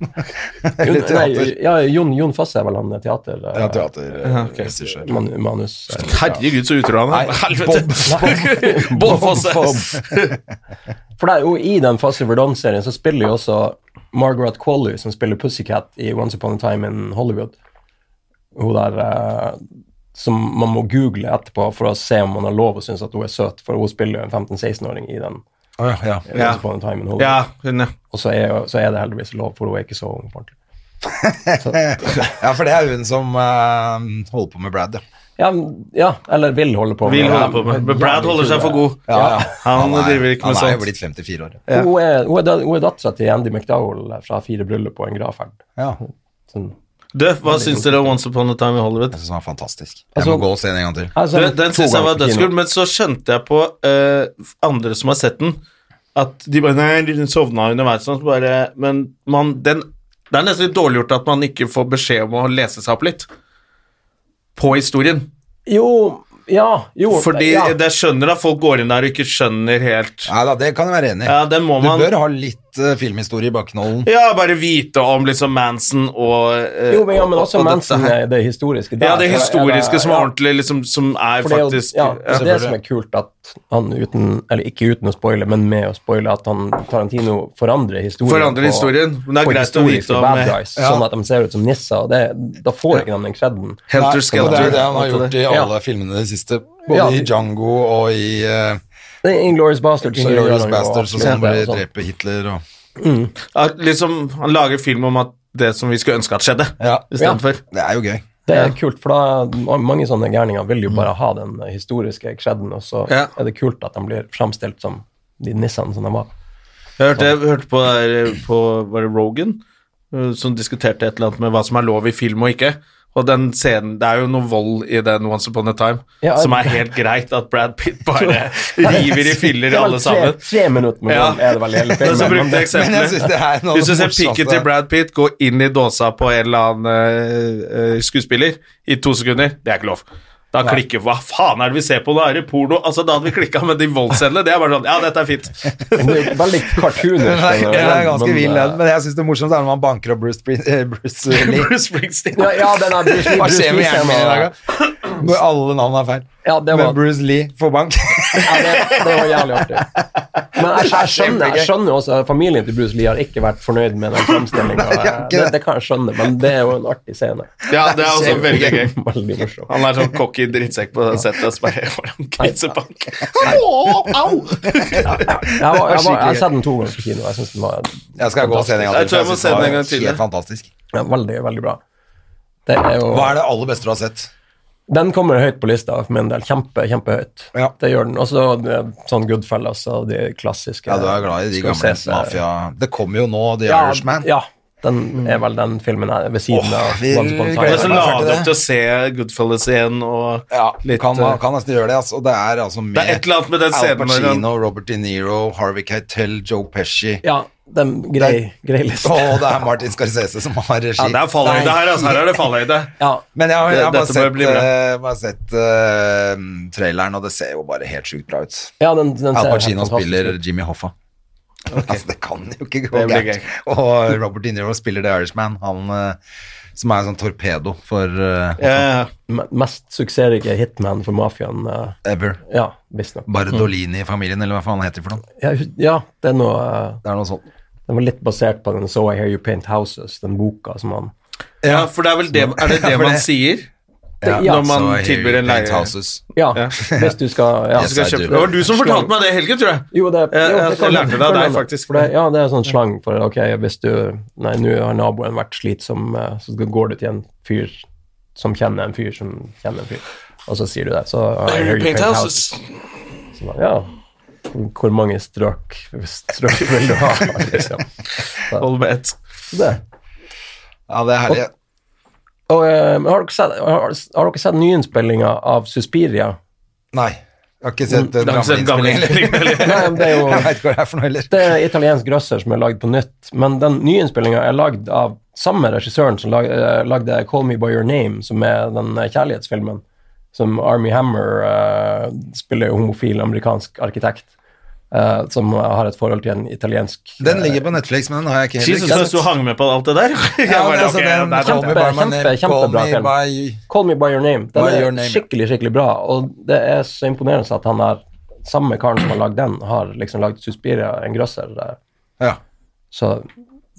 Eller teater. Nei, ja, Jon, Jon Fosse er vel han eh, teater... eh, Ja, teaterregissør. man, manus... eh, Herregud, så utro han er. Nei, Helvete. Bob Fosse. For det er jo i den Fuzzy Verdon-serien så spiller jo også Margaret Qualley, som spiller Pussycat i Once Upon a Time in Hollywood. Hun der eh, som man må google etterpå for å se om man har lov å synes at hun er søt, for hun spiller jo en 15-16-åring i den. Å ja, ja. eh, Ja. Once Upon a Time in Hollywood. Ja, hun, ja. Og så er, jo- så er det heldigvis lov, for hun er ikke så ung. på ordentlig. ja, for det er hun som eh, holder på med Brad, ja. Ja, men- ja, eller vil holde på Vil det. holde på med. Men Brad holder seg for god. Ja, ja. Han er- driver ikke med Han er jo sånt. blitt 54 år. Hun er, hun er, da- hun er dattera til Andy McDowell fra Fire bryllup og en gravferd. Ja, Sånn. Du, hva syns dere om Once Upon a Time i Hollywood? jeg synes han er fantastisk. Jeg Altså- må gå og se den en gang til. Altså, Du, den to syns jeg ganger var på kino. dødskul, men så skjønte jeg på eh, andre som har sett den, at de bare Nei, de sovna underveis. og så Bare, men man, den Det er nesten litt dårlig gjort at man ikke får beskjed om å lese seg opp litt på historien. Jo, ja, jo. Fordi ja. jeg skjønner at folk går inn der og ikke skjønner helt Nei da, det kan jeg være enig i. Ja, den må du man- bør ha litt eh, filmhistorie i bakknollen. Ja, bare vite om liksom Manson og eh, jo, men, ja, men og- også og dette Manson, her. er det historiske der. Ja, det historiske som er Ja, ordentlig, liksom, som er for det er jo- faktisk ja, altså, ja. det er det som er kult, at han uten Eller ikke uten å spoile, men med å spoile, at han Tarantino forandrer historien. Forandrer historien, men det er på greit å historiske vite om- bad guys, Ja. Sånn at de ser ut som nisser. og Det, da får ikke de den kreden. Nei, Helter og det er Skelter. jo det han har Alt gjort det i der. alle filmene de siste. Både Ja. i Django og i eh, Inglorious Bastards. så gjør Inglourious han jo Bastards, og absolutt sånn hvor de det, og sånn. dreper Hitler og At liksom, han lager film om at det som vi skulle ønske at skjedde, Ja. istedenfor. Det er jo gøy. Det er kult, for da ma- mange sånne gærninger vil Mm. jo bare ha den historiske kreden, og så Ja. er det kult at de blir framstilt som de nissene som de var. Jeg hørte, jeg hørte på, der, eh, på var det Rogan eh, som diskuterte et eller annet med hva som er lov i film og ikke. Og den scenen, Det er jo noe vold i den Once upon a time Ja, som jeg- er helt greit at Brad Pitt bare river i Det filler var alle tre- sammen. Tre minutter med Ja. dem er det vel i hele Men så filmen. brukte jeg Men jeg synes det eksempelet. er noe av Hvis du det ser morsomste. pikken til Brad Pitt gå inn i dåsa på en eller annen eh, eh, skuespiller i to sekunder, det er ikke lov. Da klikker Hva faen er det vi ser på? Da er det porno. Altså, da hadde vi klikka med de voldshendene. Det er bare sånn Ja, dette er fint. Men det er jo veldig cartoonish. Den er, den den er der, ganske men, vill, den. eh, Men jeg syns det morsomste er når man banker opp Bruce, Spring- eh, Bruce Lee. Bruce Springsteen. Ja, ja, den er Bruce Lee. Hva Bruce skjer med Lee hjernen min i scenen, dag, da? Hvor alle navn er feil. Ja, det var- Men Bruce Lee får bank. Ja, det, det var jævlig artig. Men jeg, jeg, skjønner, jeg skjønner også at familien til Bruce Lee har ikke vært fornøyd med den framstillinga. Det, det kan jeg skjønne, men det er jo en artig scene. Ja, det er også veldig gøy. Veldig morsom. Han er sånn cocky drittsekk på settet og sperrer foran grisebank. Au! Jeg, var, jeg, var, jeg har sett den to ganger på kino. Jeg syns den var Jeg skal gå og se den en gang Jeg tror jeg må synes se den en var gang til, ja. Helt fantastisk. ja, veldig, veldig bra. Det er jo, Hva er det aller beste du har sett? Den kommer høyt på lista for min del. Kjempe, kjempehøyt. Ja. Det gjør den. Og så det- sånn Goodfellas og de klassiske Ja, du er glad i de skal gamle ses- eh, mafia... Det kommer jo nå, The Ja, Irishman. ja. Den er vel den filmen her ved siden Åh, av vi- Once Upon a vi Time. Han er gleder så meg ladet til det. opp til å se Goodfellas igjen og Ja, litt kan, eh, kan nesten gjøre det. Altså. Og det er altså med Det er et eller annet med den Al scenen når han- Pacino, Robert De Niro, Harvey Keitel, Joe Pesci Ja, den grei, grei liste. Og det er Martin Scorsese som har regi. Ja, det er fallhøyde her, altså. Her er det fallhøyde. Ja, Men jeg har, jeg har bare Dette må jo sett, bli bra. eh, bare sett eh, traileren, og det ser jo bare helt sjukt bra ut. ja den, den Al ser Pacino helt fantastisk spiller ut. Jimmy Hoffa. Altså, det kan jo ikke gå Det blir gærent. Og Robert De Niro spiller The Irishman, han eh, som er en sånn torpedo for eh, Ja, Me- Mest suksessrike hitman for mafiaen. eh, Ever. Ja, visstnok. Bardolini-familien, eller hva faen han heter for noe. Ja, hus- ja, det er noe eh, Det er noe sånt. Den var litt basert på den So I Hear You Paint Houses, den boka som han ja for det er vel det Er det det Ja, for man det- sier? Ja, Når man Så I hear tilbyr you en paint leie. houses. Ja, Ja. hvis du skal ja. Du skal Yes, I kjøpe. do. Det var du som fortalte meg det, Helge, tror jeg. Jo, det, Jeg- jo, jeg- det jeg kan lærte det av kan deg, hende. faktisk. For det, ja, det er sånn slang for ok, hvis du Nei, nå har naboen vært slitsom, eh, så går du til en fyr som kjenner en fyr som kjenner en fyr, og så sier du det. Så I hear you paint houses. Så bare, Ja. Hvor mange strøk, strøk vil du ha? Liksom. Hold med ett. Det. Ja, det er herlig. Og, eh, har, dere sett, har, har dere sett nyinnspillinga av Suspiria? Nei, jeg har ikke sett den Mm. Det er ikke så gamle gammel innspillingen. innspilling, eller? Nei, men det er jo Jeg veit ikke hva det er for noe heller. Det er eh, italiensk grøsser som er lagd på nytt, men den nyinnspillinga er lagd av samme regissøren som lag, eh, lagde 'Call Me By Your Name', som er den eh, kjærlighetsfilmen som Army Hammer eh, spiller jo homofil amerikansk arkitekt, eh, som har et forhold til en italiensk eh, Den ligger på Netflix, men den har jeg ikke heller Jesus, ikke mens du hang med på alt det der. Jeg Ja, men bare, altså, ok, den nei, Call nei, Me By My Kjempe- Name, kjempe- eh, Call kjempebra Me film. By- 'Call Me By Your Name'. Den By er Your Name, ja. skikkelig, skikkelig bra, og det er så imponerende at han har samme karen som har lagd den, har liksom lagd 'Suspiria', en grøsser. eh, Ja. Så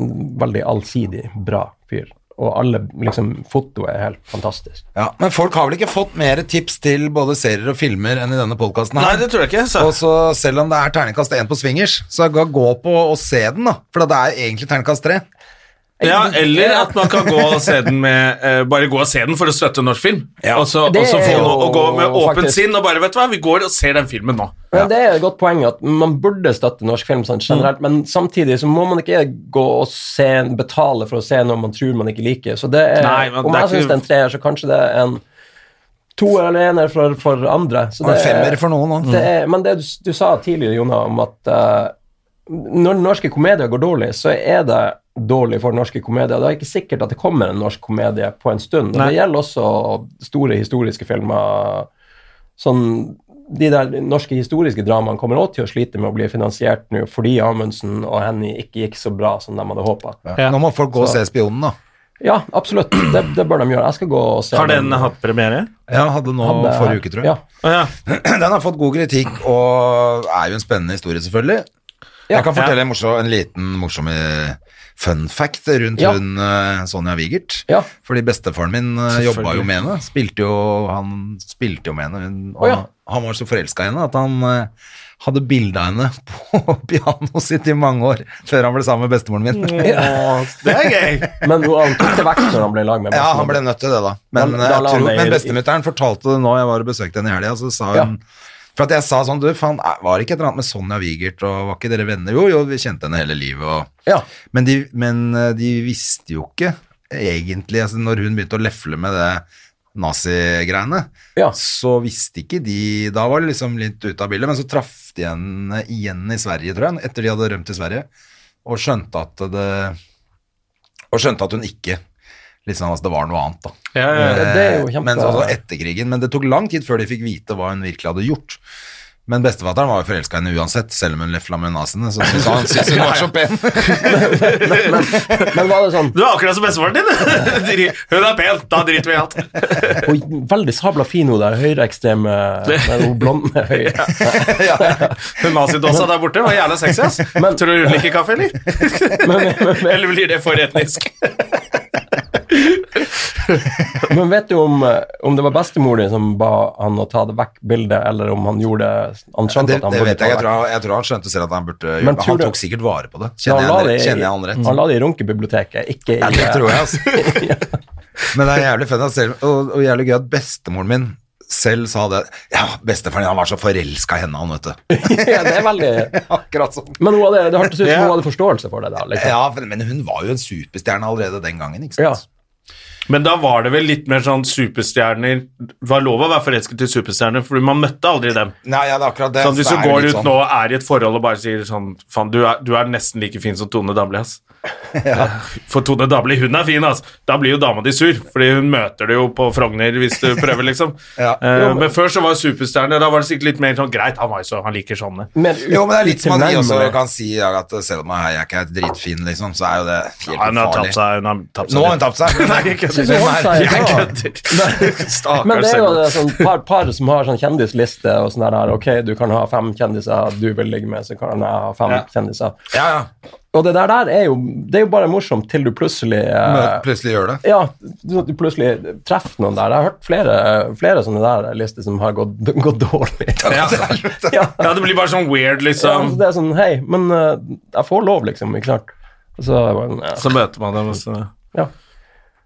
mm, veldig allsidig, bra fyr. Og alle liksom Fotoet er helt fantastisk. Ja, men folk har vel ikke fått mer tips til både serier og filmer enn i denne podkasten nei, her. det tror jeg ikke. Så. og så selv om det er terningkast 1 på Swingers, så gå gå på og se den, da. For det er egentlig terningkast 3. Ja, eller at man kan gå og se den med eh, Bare gå og se den for å støtte norsk film. Og så, og Det så få er jo noe, og gå med åpent faktisk- sinn og bare Vet du hva, vi går og ser den filmen nå. Men Det er et godt poeng at man burde støtte norsk film sånn generelt, Mm. men samtidig så må man ikke gå og se, betale for å se noe man tror man ikke liker. Så det er, Nei, men Om det er jeg syns ikke- det er en treer, så kanskje det er en toer eller ener for, for andre. Så Og en det er- femmer for noen, da. Det er, men det du, du sa tidligere, Jona, om at eh, når norske komedier går dårlig, så er det dårlig for norske komedier. Det er ikke sikkert at det kommer en norsk komedie på en stund. Og Nei. det gjelder også store historiske filmer. Sånn, de der norske historiske dramaene kommer også til å slite med å bli finansiert nå fordi Amundsen og Henny ikke gikk så bra som de hadde håpa. Ja. Ja. Nå må folk gå og se Så- Spionen, da. absolutt. Det, det bør de gjøre. Jeg skal gå og se. Har den hatt premiere? Ja, hadde nå Hadde- forrige uke, tror jeg. Ja. Å ja. Den har fått god kritikk, og er jo en spennende historie, selvfølgelig. jeg kan fortelle en, morsom, en liten morsom eh, fun fact rundt Ja. hun eh, Sonja Wigert. Ja. Fordi bestefaren min eh, jobba Selvfølgelig. jo med henne. Spilte jo, han spilte jo med henne. Hun, og Å, ja. Han var så forelska i henne at han eh, hadde bilde av henne på pianoet sitt i mange år før han ble sammen med bestemoren Mm. min. Det er gøy! Men jo, han tok det vekk når han ble i lag med Ja, han Barcelona. ble nødt til det, da. Men, Da- eh, jeg da la han tror, det i- men bestemutteren fortalte det nå, jeg var og besøkte henne i helga, så sa Ja. hun For at jeg sa sånn, du, faen, er- var det ikke et eller annet med Sonja Wigert, og var ikke dere venner? Jo, jo, vi kjente henne hele livet, og Ja. Men de, men eh, de visste jo ikke egentlig altså Når hun begynte å lefle med det nazigreiene, Ja. så visste ikke de Da var det liksom litt ute av bildet, men så traff de henne igjen i Sverige, tror jeg, etter de hadde rømt til Sverige, og skjønte at det Og skjønte at hun ikke Liksom, altså, det var noe annet, da. Ja, ja, ja. Ja, det er jo Eh, kjempe- Men så, altså, etter krigen, men det tok lang tid før de fikk vite hva hun virkelig hadde gjort. Men bestefatteren var jo forelska i henne uansett, selv om hun lefla med naziene. Så syntes han syntes hun var så pen. Men var det sånn Du er akkurat som bestefaren din! Dri- Hun er pen, da driter vi i alt. Og veldig sabla fin hun der høyreekstreme der Hun blonde høye. Hun nazidåsa der borte var jævla sexy, ass. Men- Tror du hun liker kaffe, eller? eller blir det for etnisk? Men vet du om, eh, om det var bestemor din som ba han å ta det vekk bildet, eller om han gjorde det Han skjønte Det, at han det burde vet jeg, ta det jeg vekk. tror, han- jeg tror han skjønte selv at han burde Men gjøre det. tror Han du- tok sikkert vare på det. Så Kjenner jeg la han rett? det i- Kjenner jeg han rett? Han la det i runkebiblioteket, ikke i Ja, det tror jeg, altså. Men det er jævlig fun at selv, og, og jævlig gøy at bestemoren min selv sa det. Ja, bestefaren din, han var så forelska i henne, han, vet du. ja, det er veldig Akkurat sånn. Men hun hadde, det hørtes ut som Ja. hun hadde forståelse for det. da liksom. Ja, for- men hun var jo en superstjerne allerede den gangen, ikke sant. Ja. Men da var det vel litt mer sånn superstjerner Det var lov å være forelsket i superstjerner, for man møtte aldri dem. Nei, ja, det er akkurat det. Sånn, hvis Så du er det går litt ut sånn- nå og er i et forhold og bare sier sånn Faen, du, er- du er nesten like fin som Tone Damli, ass. Eh, For Tone Damli, hun er fin, ass. Da blir jo dama di sur, fordi hun møter det jo på Frogner hvis du prøver, liksom. Ja. Eh, men før så var superstjerne, da var det sikkert litt mer sånn Greit, han var jo så Han liker sånne. Men, Jo, men det er litt som at de også utilnærmelig. kan si i dag at selv om jeg er ikke er dritfin, liksom, så er jo det helt Ja, hun har tapt ufarlig. seg. Hun har tapt seg Nå har litt. hun tapt seg. Nei, jeg kødder. Synes hun holdt seg i Jeg dag. kødder. Men Stakkars det er Selma. jo det sånn par, par som har sånn kjendisliste og sånn der Ok, du kan ha fem kjendiser du vil ligge med, så kan jeg ha fem Ja. kjendiser. Ja, ja. Og det der, der er jo Det er jo bare morsomt til du plutselig eh, Mø- Plutselig gjør det. Ja, sånn at du plutselig treffer noen der. Jeg har hørt flere, flere sånne der lister som har gått, gått dårlig. Ja. Ja. Ja, det blir bare sånn weird, Ja, altså, liksom. det er sånn Hei, men eh, jeg får lov, liksom. Ikke sant? Og så er det bare, sånn, ja. Så møter man dem, og så Ja.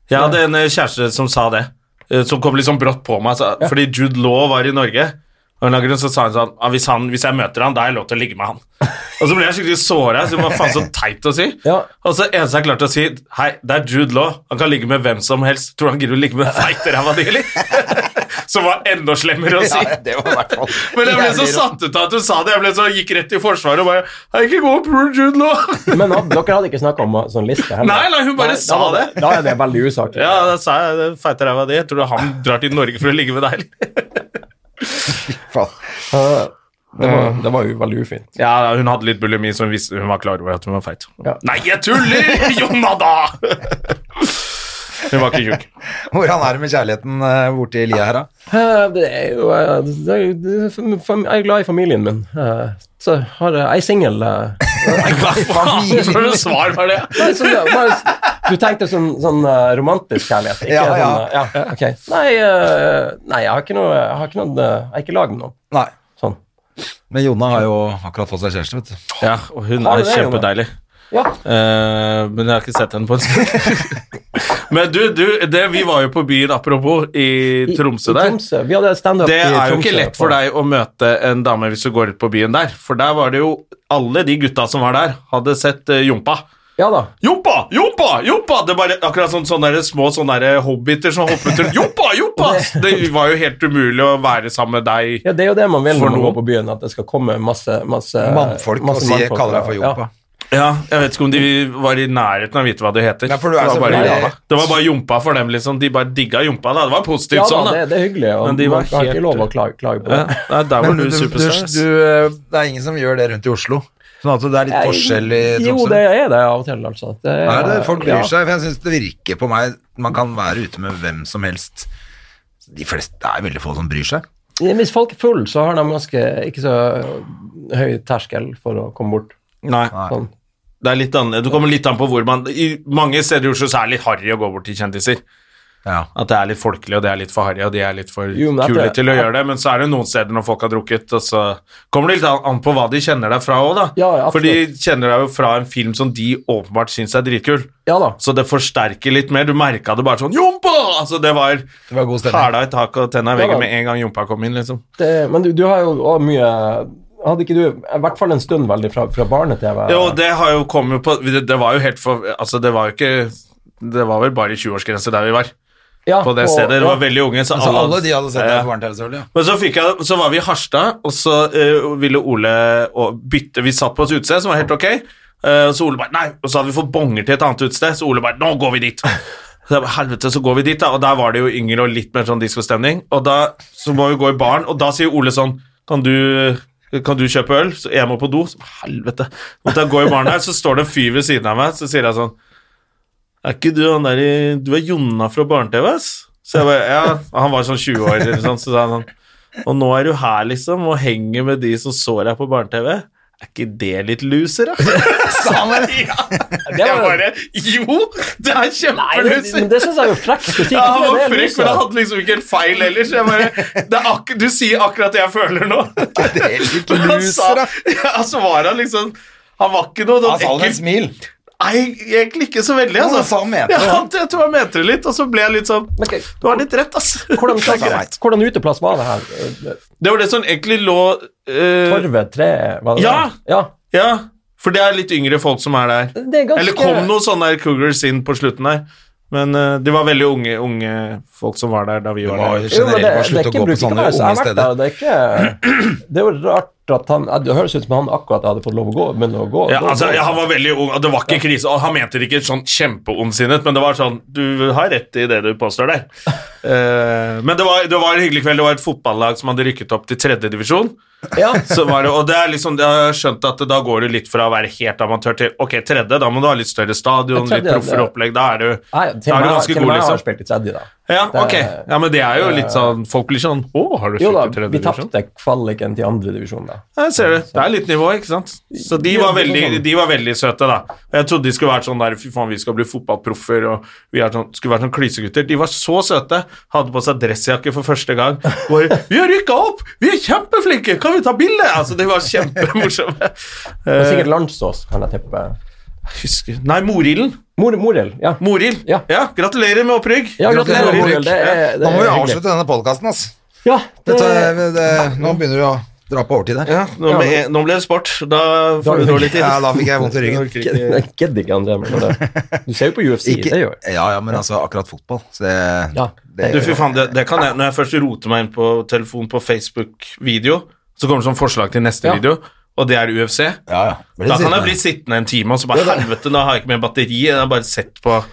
Jeg hadde en eh, kjæreste som sa det, eh, som kom litt sånn brått på meg. sa- Fordi Jude Law var i Norge, og en eller annen grunn så sa han sånn ah, hvis, han, 'Hvis jeg møter han, da har jeg lov til å ligge med han'. Og så ble jeg skikkelig såra. Så hva faen så teit å si? Ja. Og så eneste jeg klarte å si, 'Hei, det er Jude Law. Han kan ligge med hvem som helst.' Tror du han gidder å ligge med feiteræva di, eller? Som var enda slemmere å si. Ja, det var i hvert fall Men jeg ble så jævlig rå. satt ut av at hun sa det. Jeg ble så, gikk rett i forsvaret og bare 'Jeg ikke gå på Poor Jude Law'. Men hadde- dere hadde ikke snakka om sånn liste heller? Nei, nei, hun bare da sa var det. Da er det veldig usaklig. Ja, da sa jeg det feite ræva di. Tror du han drar til Norge for å ligge med deg, eller? Faen. Eh, Det, Mm. var, det var jo veldig ufint. Ja, hun hadde litt bulimi, så hun, visste, hun var klar over at hun var feit. Ja. Nei, jeg tuller! Jonna, da! hun var ikke tjukk. Hvordan er det med kjærligheten eh, borti lia her, da? Eh, Det er jo eh, det er, jo- det er, fam- Jeg er glad i familien min. Eh, Så har jeg Jeg er singel. eh, Hva faen for noe svar var det? Nei, sånn, ja, bare, du tenkte sånn, sånn eh, romantisk kjærlighet? Ikke Ja, ja. sånn, eh, ja, ok. Nei, eh, nei, jeg har ikke noe Jeg har ikke noe, eh, jeg er ikke i lag med noen. Nei. Sånn. Men Jonna har jo akkurat fått seg kjæreste, vet du. Ja, og hun Har du er det, Jonna? kjempedeilig. Ja. Eh, men jeg har ikke sett henne på en stund. men du, du det, vi var jo på byen, apropos, i Tromsø I der. Tromsø. Vi hadde standup i Det Tromsø. er jo ikke lett for på- deg å møte en dame hvis du går ut på byen der, for der var det jo alle de gutta som var der, hadde sett eh, Jompa. Ja da. Jompa! Jompa! Jompa! Det er bare akkurat sånn, sånne der små sånne der eh, hobbiter som hoppet rundt. Jompa! Jompa! Det var jo helt umulig å være sammen med deg. Ja, Det er jo det man vil For når man noen. går på byen, at det skal komme masse, masse Eh, Mannfolk og masse si, mannfolk, kaller deg for ja. jompa. Ja, jeg vet ikke om de var i nærheten av å vite hva det heter. Nei, for du er det, var bare, selvfølgelig- jompa. det var bare jompa for dem, liksom. De bare digga jompa. da, Det var positivt Ja da, sånn, da. det, det er hyggelig, og Men de var man har helt- ikke lov å klage, klage på det. Ja, nei, der var Men du du, du, du, superstar. ass. eh, det er ingen som gjør det rundt i Oslo. Sånn at det er litt Jeg- forskjell i Jo, Tromsø. det er det av og til, altså. Det er, Er det, folk bryr ja. seg, for jeg syns det virker på meg Man kan være ute med hvem som helst. De fleste, Det er veldig få som bryr seg. Hvis folk er full, så har de ganske ikke så høy terskel for å komme bort. Nei, Sånn. det er litt annerledes. Det kommer litt an på hvor man I mange steder i Oslo så er det litt harry å gå bort til kjendiser. Ja. At det er litt folkelig, og det er litt for harry, og de er litt for Jo, men at kule det- til å gjøre det. Men så er det noen steder når folk har drukket, og så kommer det litt an- an på hva de kjenner deg fra òg, da. Ja, ja, absolutt. for de kjenner deg jo fra en film som de åpenbart syns er dritkul. Ja da. Så det forsterker litt mer. Du merka det bare sånn Jompa! Altså, det var Det var god stemning. hæla i taket og tenna i Ja, veggen da. med en gang jompa kom inn, liksom. Det, men du, du har jo også mye Hadde ikke du i hvert fall en stund veldig fra, fra barne-TV? Jo, det har jo kommet på Det, det var jo helt for Altså, det var jo ikke Det var vel bare 20-årsgrense der vi var, Ja, på det og- stedet. Det ja. var veldig unge. Så Altså, alle de hadde sett Ja, deg ja. på barne-TV, selvfølgelig. ja. Men så, fikk jeg, så var vi i Harstad, og så eh, ville Ole å bytte Vi satt på et utested som var helt ok, eh, så Ole bare Nei! Og så hadde vi fått bonger til et annet utested, så Ole bare Nå går vi dit! Så jeg bare, Helvete, så går vi dit, da. Og der var det jo yngre og litt mer sånn diskostemning. Og da så må vi gå i baren, og da sier Ole sånn Kan du kan du kjøpe øl? Så jeg må på do. Så, helvete. Måtte jeg gå i baren her, så står det en fyr ved siden av meg, så sier jeg sånn er ikke du han der i Du er Jonna fra Barne-TV, ass? Så jeg bare, ja, Han var sånn 20 år, eller sånn, så sa han sånn Og nå er du her, liksom, og henger med de som så deg på barne-TV. Er ikke det litt loser, da? Sa han det? Ja. Jeg bare Jo, det er Nei, men, kjempeloser! men det syns jeg er jo frekt. Du sier Ja, han ikke det, var det er frekk, lyset. men han hadde liksom ikke helt feil heller. Så jeg bare det er ak Du sier akkurat det jeg føler nå. Det er litt Men han sa loser, da. Ja, så var han liksom Han var ikke noe sånn Sånn Han sa det med et smil. Nei, egentlig ikke så veldig. Altså. Ja, men sa han mente ja, det. han, jeg tror han mente det litt, og så ble jeg litt sånn Men ok, Du har litt rett, ass. hvordan, Det er greit. hvordan uteplass var det her? Det var det som egentlig lå eh, Torvet tre? Var det Ja! det? ja! Ja, for det er litt yngre folk som er der. Det er ganske Eller kom noen sånne der cougars inn på slutten der. Men eh, de var veldig unge, unge folk som var der da vi Det var var der. jo Jo, men det, generelt det bare er slutt å ikke gå på sånne brukerplass. unge Jeg har vært der, steder. og det er ikke Det er jo rart at han Det høres ut som han akkurat hadde fått lov å gå, begynne å gå. Ja, gå- altså, gå. ja, Han var veldig ung, og det var ikke krise. Og han mente det ikke sånn kjempeondsinnet, men det var sånn Du har rett i det du påstår der. Eh, men det var, det var en hyggelig kveld. Det var et fotballag som hadde rykket opp til tredjedivisjon. Ja. Så var det, og det er liksom, jeg har skjønt at da går du litt fra å være helt amatør til ok, tredje, da må du ha litt større stadion, Tredje, litt proffere det- opplegg, da er du, Nei, da til og er med- du ganske til og god, med Jeg har liksom. spilt i tredje, da. Ja, det- ok. Ja, men det er jo litt sånn, folk blir sånn, å, har du Jo spilt da, i tredje vi divisjon? tapte kvaliken til andre divisjon, da. Ja, jeg ser det. Det er litt nivå, ikke sant? Så de var veldig, de var veldig søte, da. Og Jeg trodde de skulle vært sånn der Fy faen, vi skal bli fotballproffer, og vi er sånn, skulle vært sånn klysegutter. De var så søte. Hadde på seg dressjakke for første gang. Bare 'Vi har rykka opp! Vi er kjempeflinke! Kan vi ta bilde?' Altså, de var kjempemorsomme. Det Eh. var sikkert Landsås, kan jeg tippe. Husker Nei, Morilden. Mor, Morild, ja. Morild. Ja. gratulerer med opprygg. Ja, gratulerer, Gratulerer, Morild. Det er, det Nå må vi er hyggelig. avslutte denne podkasten, ass. Ja, det, Dette, det, nå begynner vi å dra på overtid her. Ja, nå, ble, nå ble det sport. Da Da får er vi det- gå litt Ja, inn. da fikk jeg vondt i ryggen. Jeg gidder ikke, André. Men det. Du ser jo på UFC, det gjør Ikke, jeg. ja, ja, men altså akkurat fotball. Så det, Ja. det, Du, fy faen, det, det kan jeg Når jeg først roter meg inn på telefon på Facebook-video, så kommer det sånn forslag til neste Ja. video, og det er UFC. ja, ja. Blir Da det kan jeg sittende. bli sittende en time og så bare Helvete, da har jeg ikke mer batteri. Jeg har bare sett på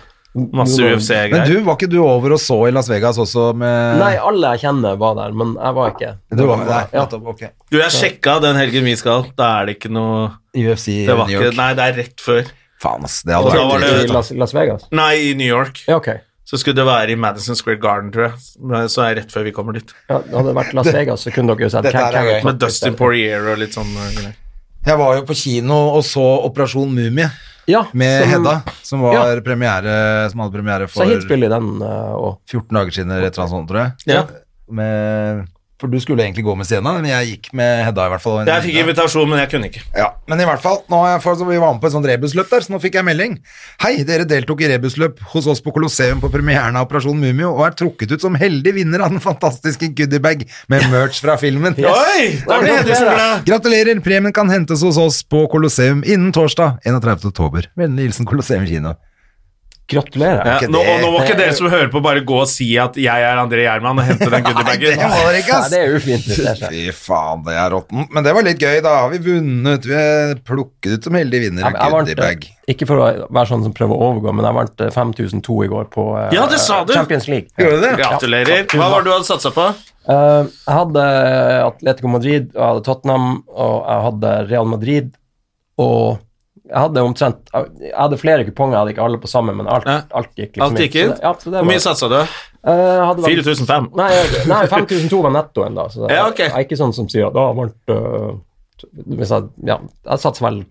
masse Jo, men- Men UFC-greier. du, var ikke du over og så i Las Vegas også med Nei, alle jeg kjenner var der, men jeg var ikke. Du var med der. Ja. nettopp, ok. Du, jeg sjekka den helgen vi skal. Da er det ikke noe UFC i Det var New ikke York. Nei, det er rett før. Faen, ass. Det Og hadde da var vært det- I dritt. da. Las, Las Vegas? Nei, i New York. Ja, ok. Så skulle det være i Madison Square Garden, tror jeg. Men Så er det rett før vi kommer dit. Ja, hadde det vært Las Vegas, så kunne dere jo sett Dette her er Carrot gøy. Top Med i Dustin stedet. Poirier og litt sånn uh, greier. Jeg var jo på kino og så Operasjon Mumie Ja, med som- Hedda, som, var premiere, som hadde premiere Så for hitspill i den eh, og 14 dager siden, eller et eller annet sånt, tror jeg. Ja. Med, for du skulle egentlig gå med Sienna, men jeg gikk med Hedda i hvert fall. Jeg fikk invitasjon, men jeg kunne ikke. Ja, men i hvert fall, nå har jeg fått, så vi var med på et sånt rebusløp der, så nå fikk jeg melding. Hei, dere deltok i rebusløp hos oss på Colosseum på premieren av Operasjon Mumio, og er trukket ut som heldig vinner av den fantastiske goodiebag med merch fra filmen. Oi! Da ble Hedvigsen glad. Gratulerer, premien kan hentes hos oss på Colosseum innen torsdag, 31. oktober. Vennlig hilsen Colosseum Kino. Gratulerer. Ja, ikke nå, og det- nå må ikke dere som hører på, bare gå og si at jeg er André Gjerman og hente den det goodiebagen. var det ikke, Nei, ass! det er ufint. hvis det skjer. Fy faen, det er råttent. Men det var litt gøy, da. Har vi vunnet? Vi er plukket ut som heldige vinnere. Jeg, jeg vant, Goodiebag. eh, ikke for å være sånn som prøver å overgå, men jeg vant eh, 5002 i går på eh, Ja, det sa du. Champions League. Gjorde du det? Gratulerer. Hva var det du hadde satsa på? Eh, jeg hadde eh, Atletico Madrid, og jeg hadde Tottenham, og jeg hadde Real Madrid, og jeg hadde omtrent Jeg hadde flere kuponger, jeg hadde ikke alle på sammen, men alt, Ja. alt gikk liksom Alt gikk inn. inn? Så det- Ja, så det Hvor var- mye satsa du? Eh, jeg hadde vel- 4005. Nei, jeg- nei 5002 var nettoen, da. Så det, Ja, ok. Jeg er ikke sånn som sier at da vant eh, hvis jeg, ja, jeg satser vel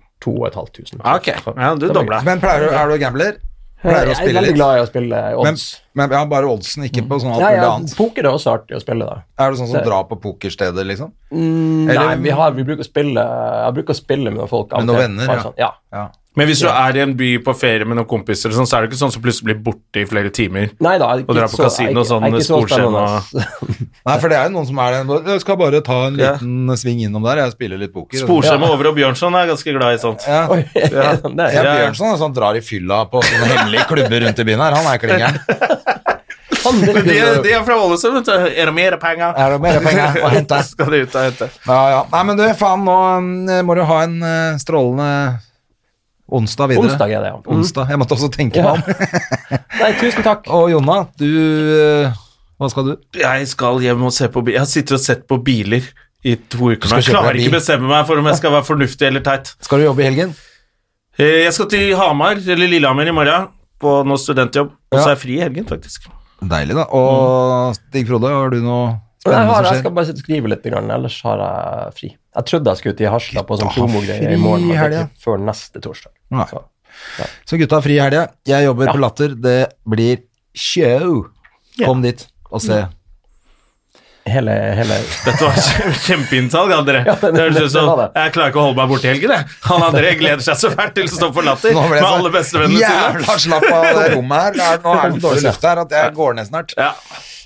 Ja, 2500. Ah, Ok, ja, du Det var dobla. Men pleier du, er du gambler? Pleier du å Jeg er spille veldig litt? glad i å spille Men, odds. men ja, bare oddsen, ikke på sånn alt Nei, mulig ja, annet. poker er også artig å spille, da. Er du sånn som det- drar på pokersteder, liksom? Mm, Nei, vi, har, vi bruker å spille Jeg bruker å spille med noen folk. av Med noen og til, venner, bare ja. Sånn, ja. Ja. Men hvis du er i en by på ferie med noen kompiser, og sånn, så er det ikke sånn som plutselig blir borte i flere timer. Nei da. jeg er Og dra på ikke så- kasino og jeg er ikke- jeg er sånn ikke så spennende. altså. Nei, for det er jo noen som er det. Jeg skal bare ta en liten sving innom der, jeg spiller litt poker. Sporskjema over og Bjørnson er ganske glad i sånt. Ja. Oi, er det det? Ja, Ja, ja. Bjørnson er sånn drar i fylla på sånne hemmelige klubber rundt i byen her. Han er klingeren. Sånn, det Men de, blir jo- de er fra Ålesund, vet du. Er det mer penger? Er det mer penger å hente? Skal de ut og hente. Ja, ja. Nei, men du, faen, nå mm, må du ha en eh, strålende onsdag videre. Onsdag er det, ja. Mm. Onsdag. Jeg måtte også tenke Ja. meg om. Nei, tusen takk. Og Jonna, du eh, Hva skal du? Jeg skal hjem og se på bil. Jeg sitter og sett på biler i to uker nå. skal Jeg kjøpe deg klarer bil. ikke bestemme meg for om jeg skal være fornuftig eller teit. Skal du jobbe i helgen? Eh, Jeg skal til Hamar, eller Lillehammer, i morgen på noe studentjobb. Og så Ja. er jeg fri i helgen, faktisk. Deilig, da. Mm. Og Stig Frode, har du noe spennende Jeg, har, som jeg skal skjer? bare sitte og skrive litt, grann, ellers har jeg fri. Jeg trodde jeg skulle til Harstad på sånn Gutta har promogreie fri i morgen, men det er helga. ikke før neste torsdag. Nei. Så. Så gutta har fri i helga. Jeg jobber Ja. på Latter. Det blir show. Ja. Mm. Kom dit og se. Hele, hele Dette var kjempeinnsalg, André. Ja, det det- høres det- ut som det var det. jeg klarer ikke å holde meg borte i helgen, jeg. Han André gleder seg så fælt til å stå for latter Nå ble med jeg alle så bestevennene sine. jævla slapp av det rommet her. Det er, nå er det så dårlig luft her at jeg går ned snart. Ja.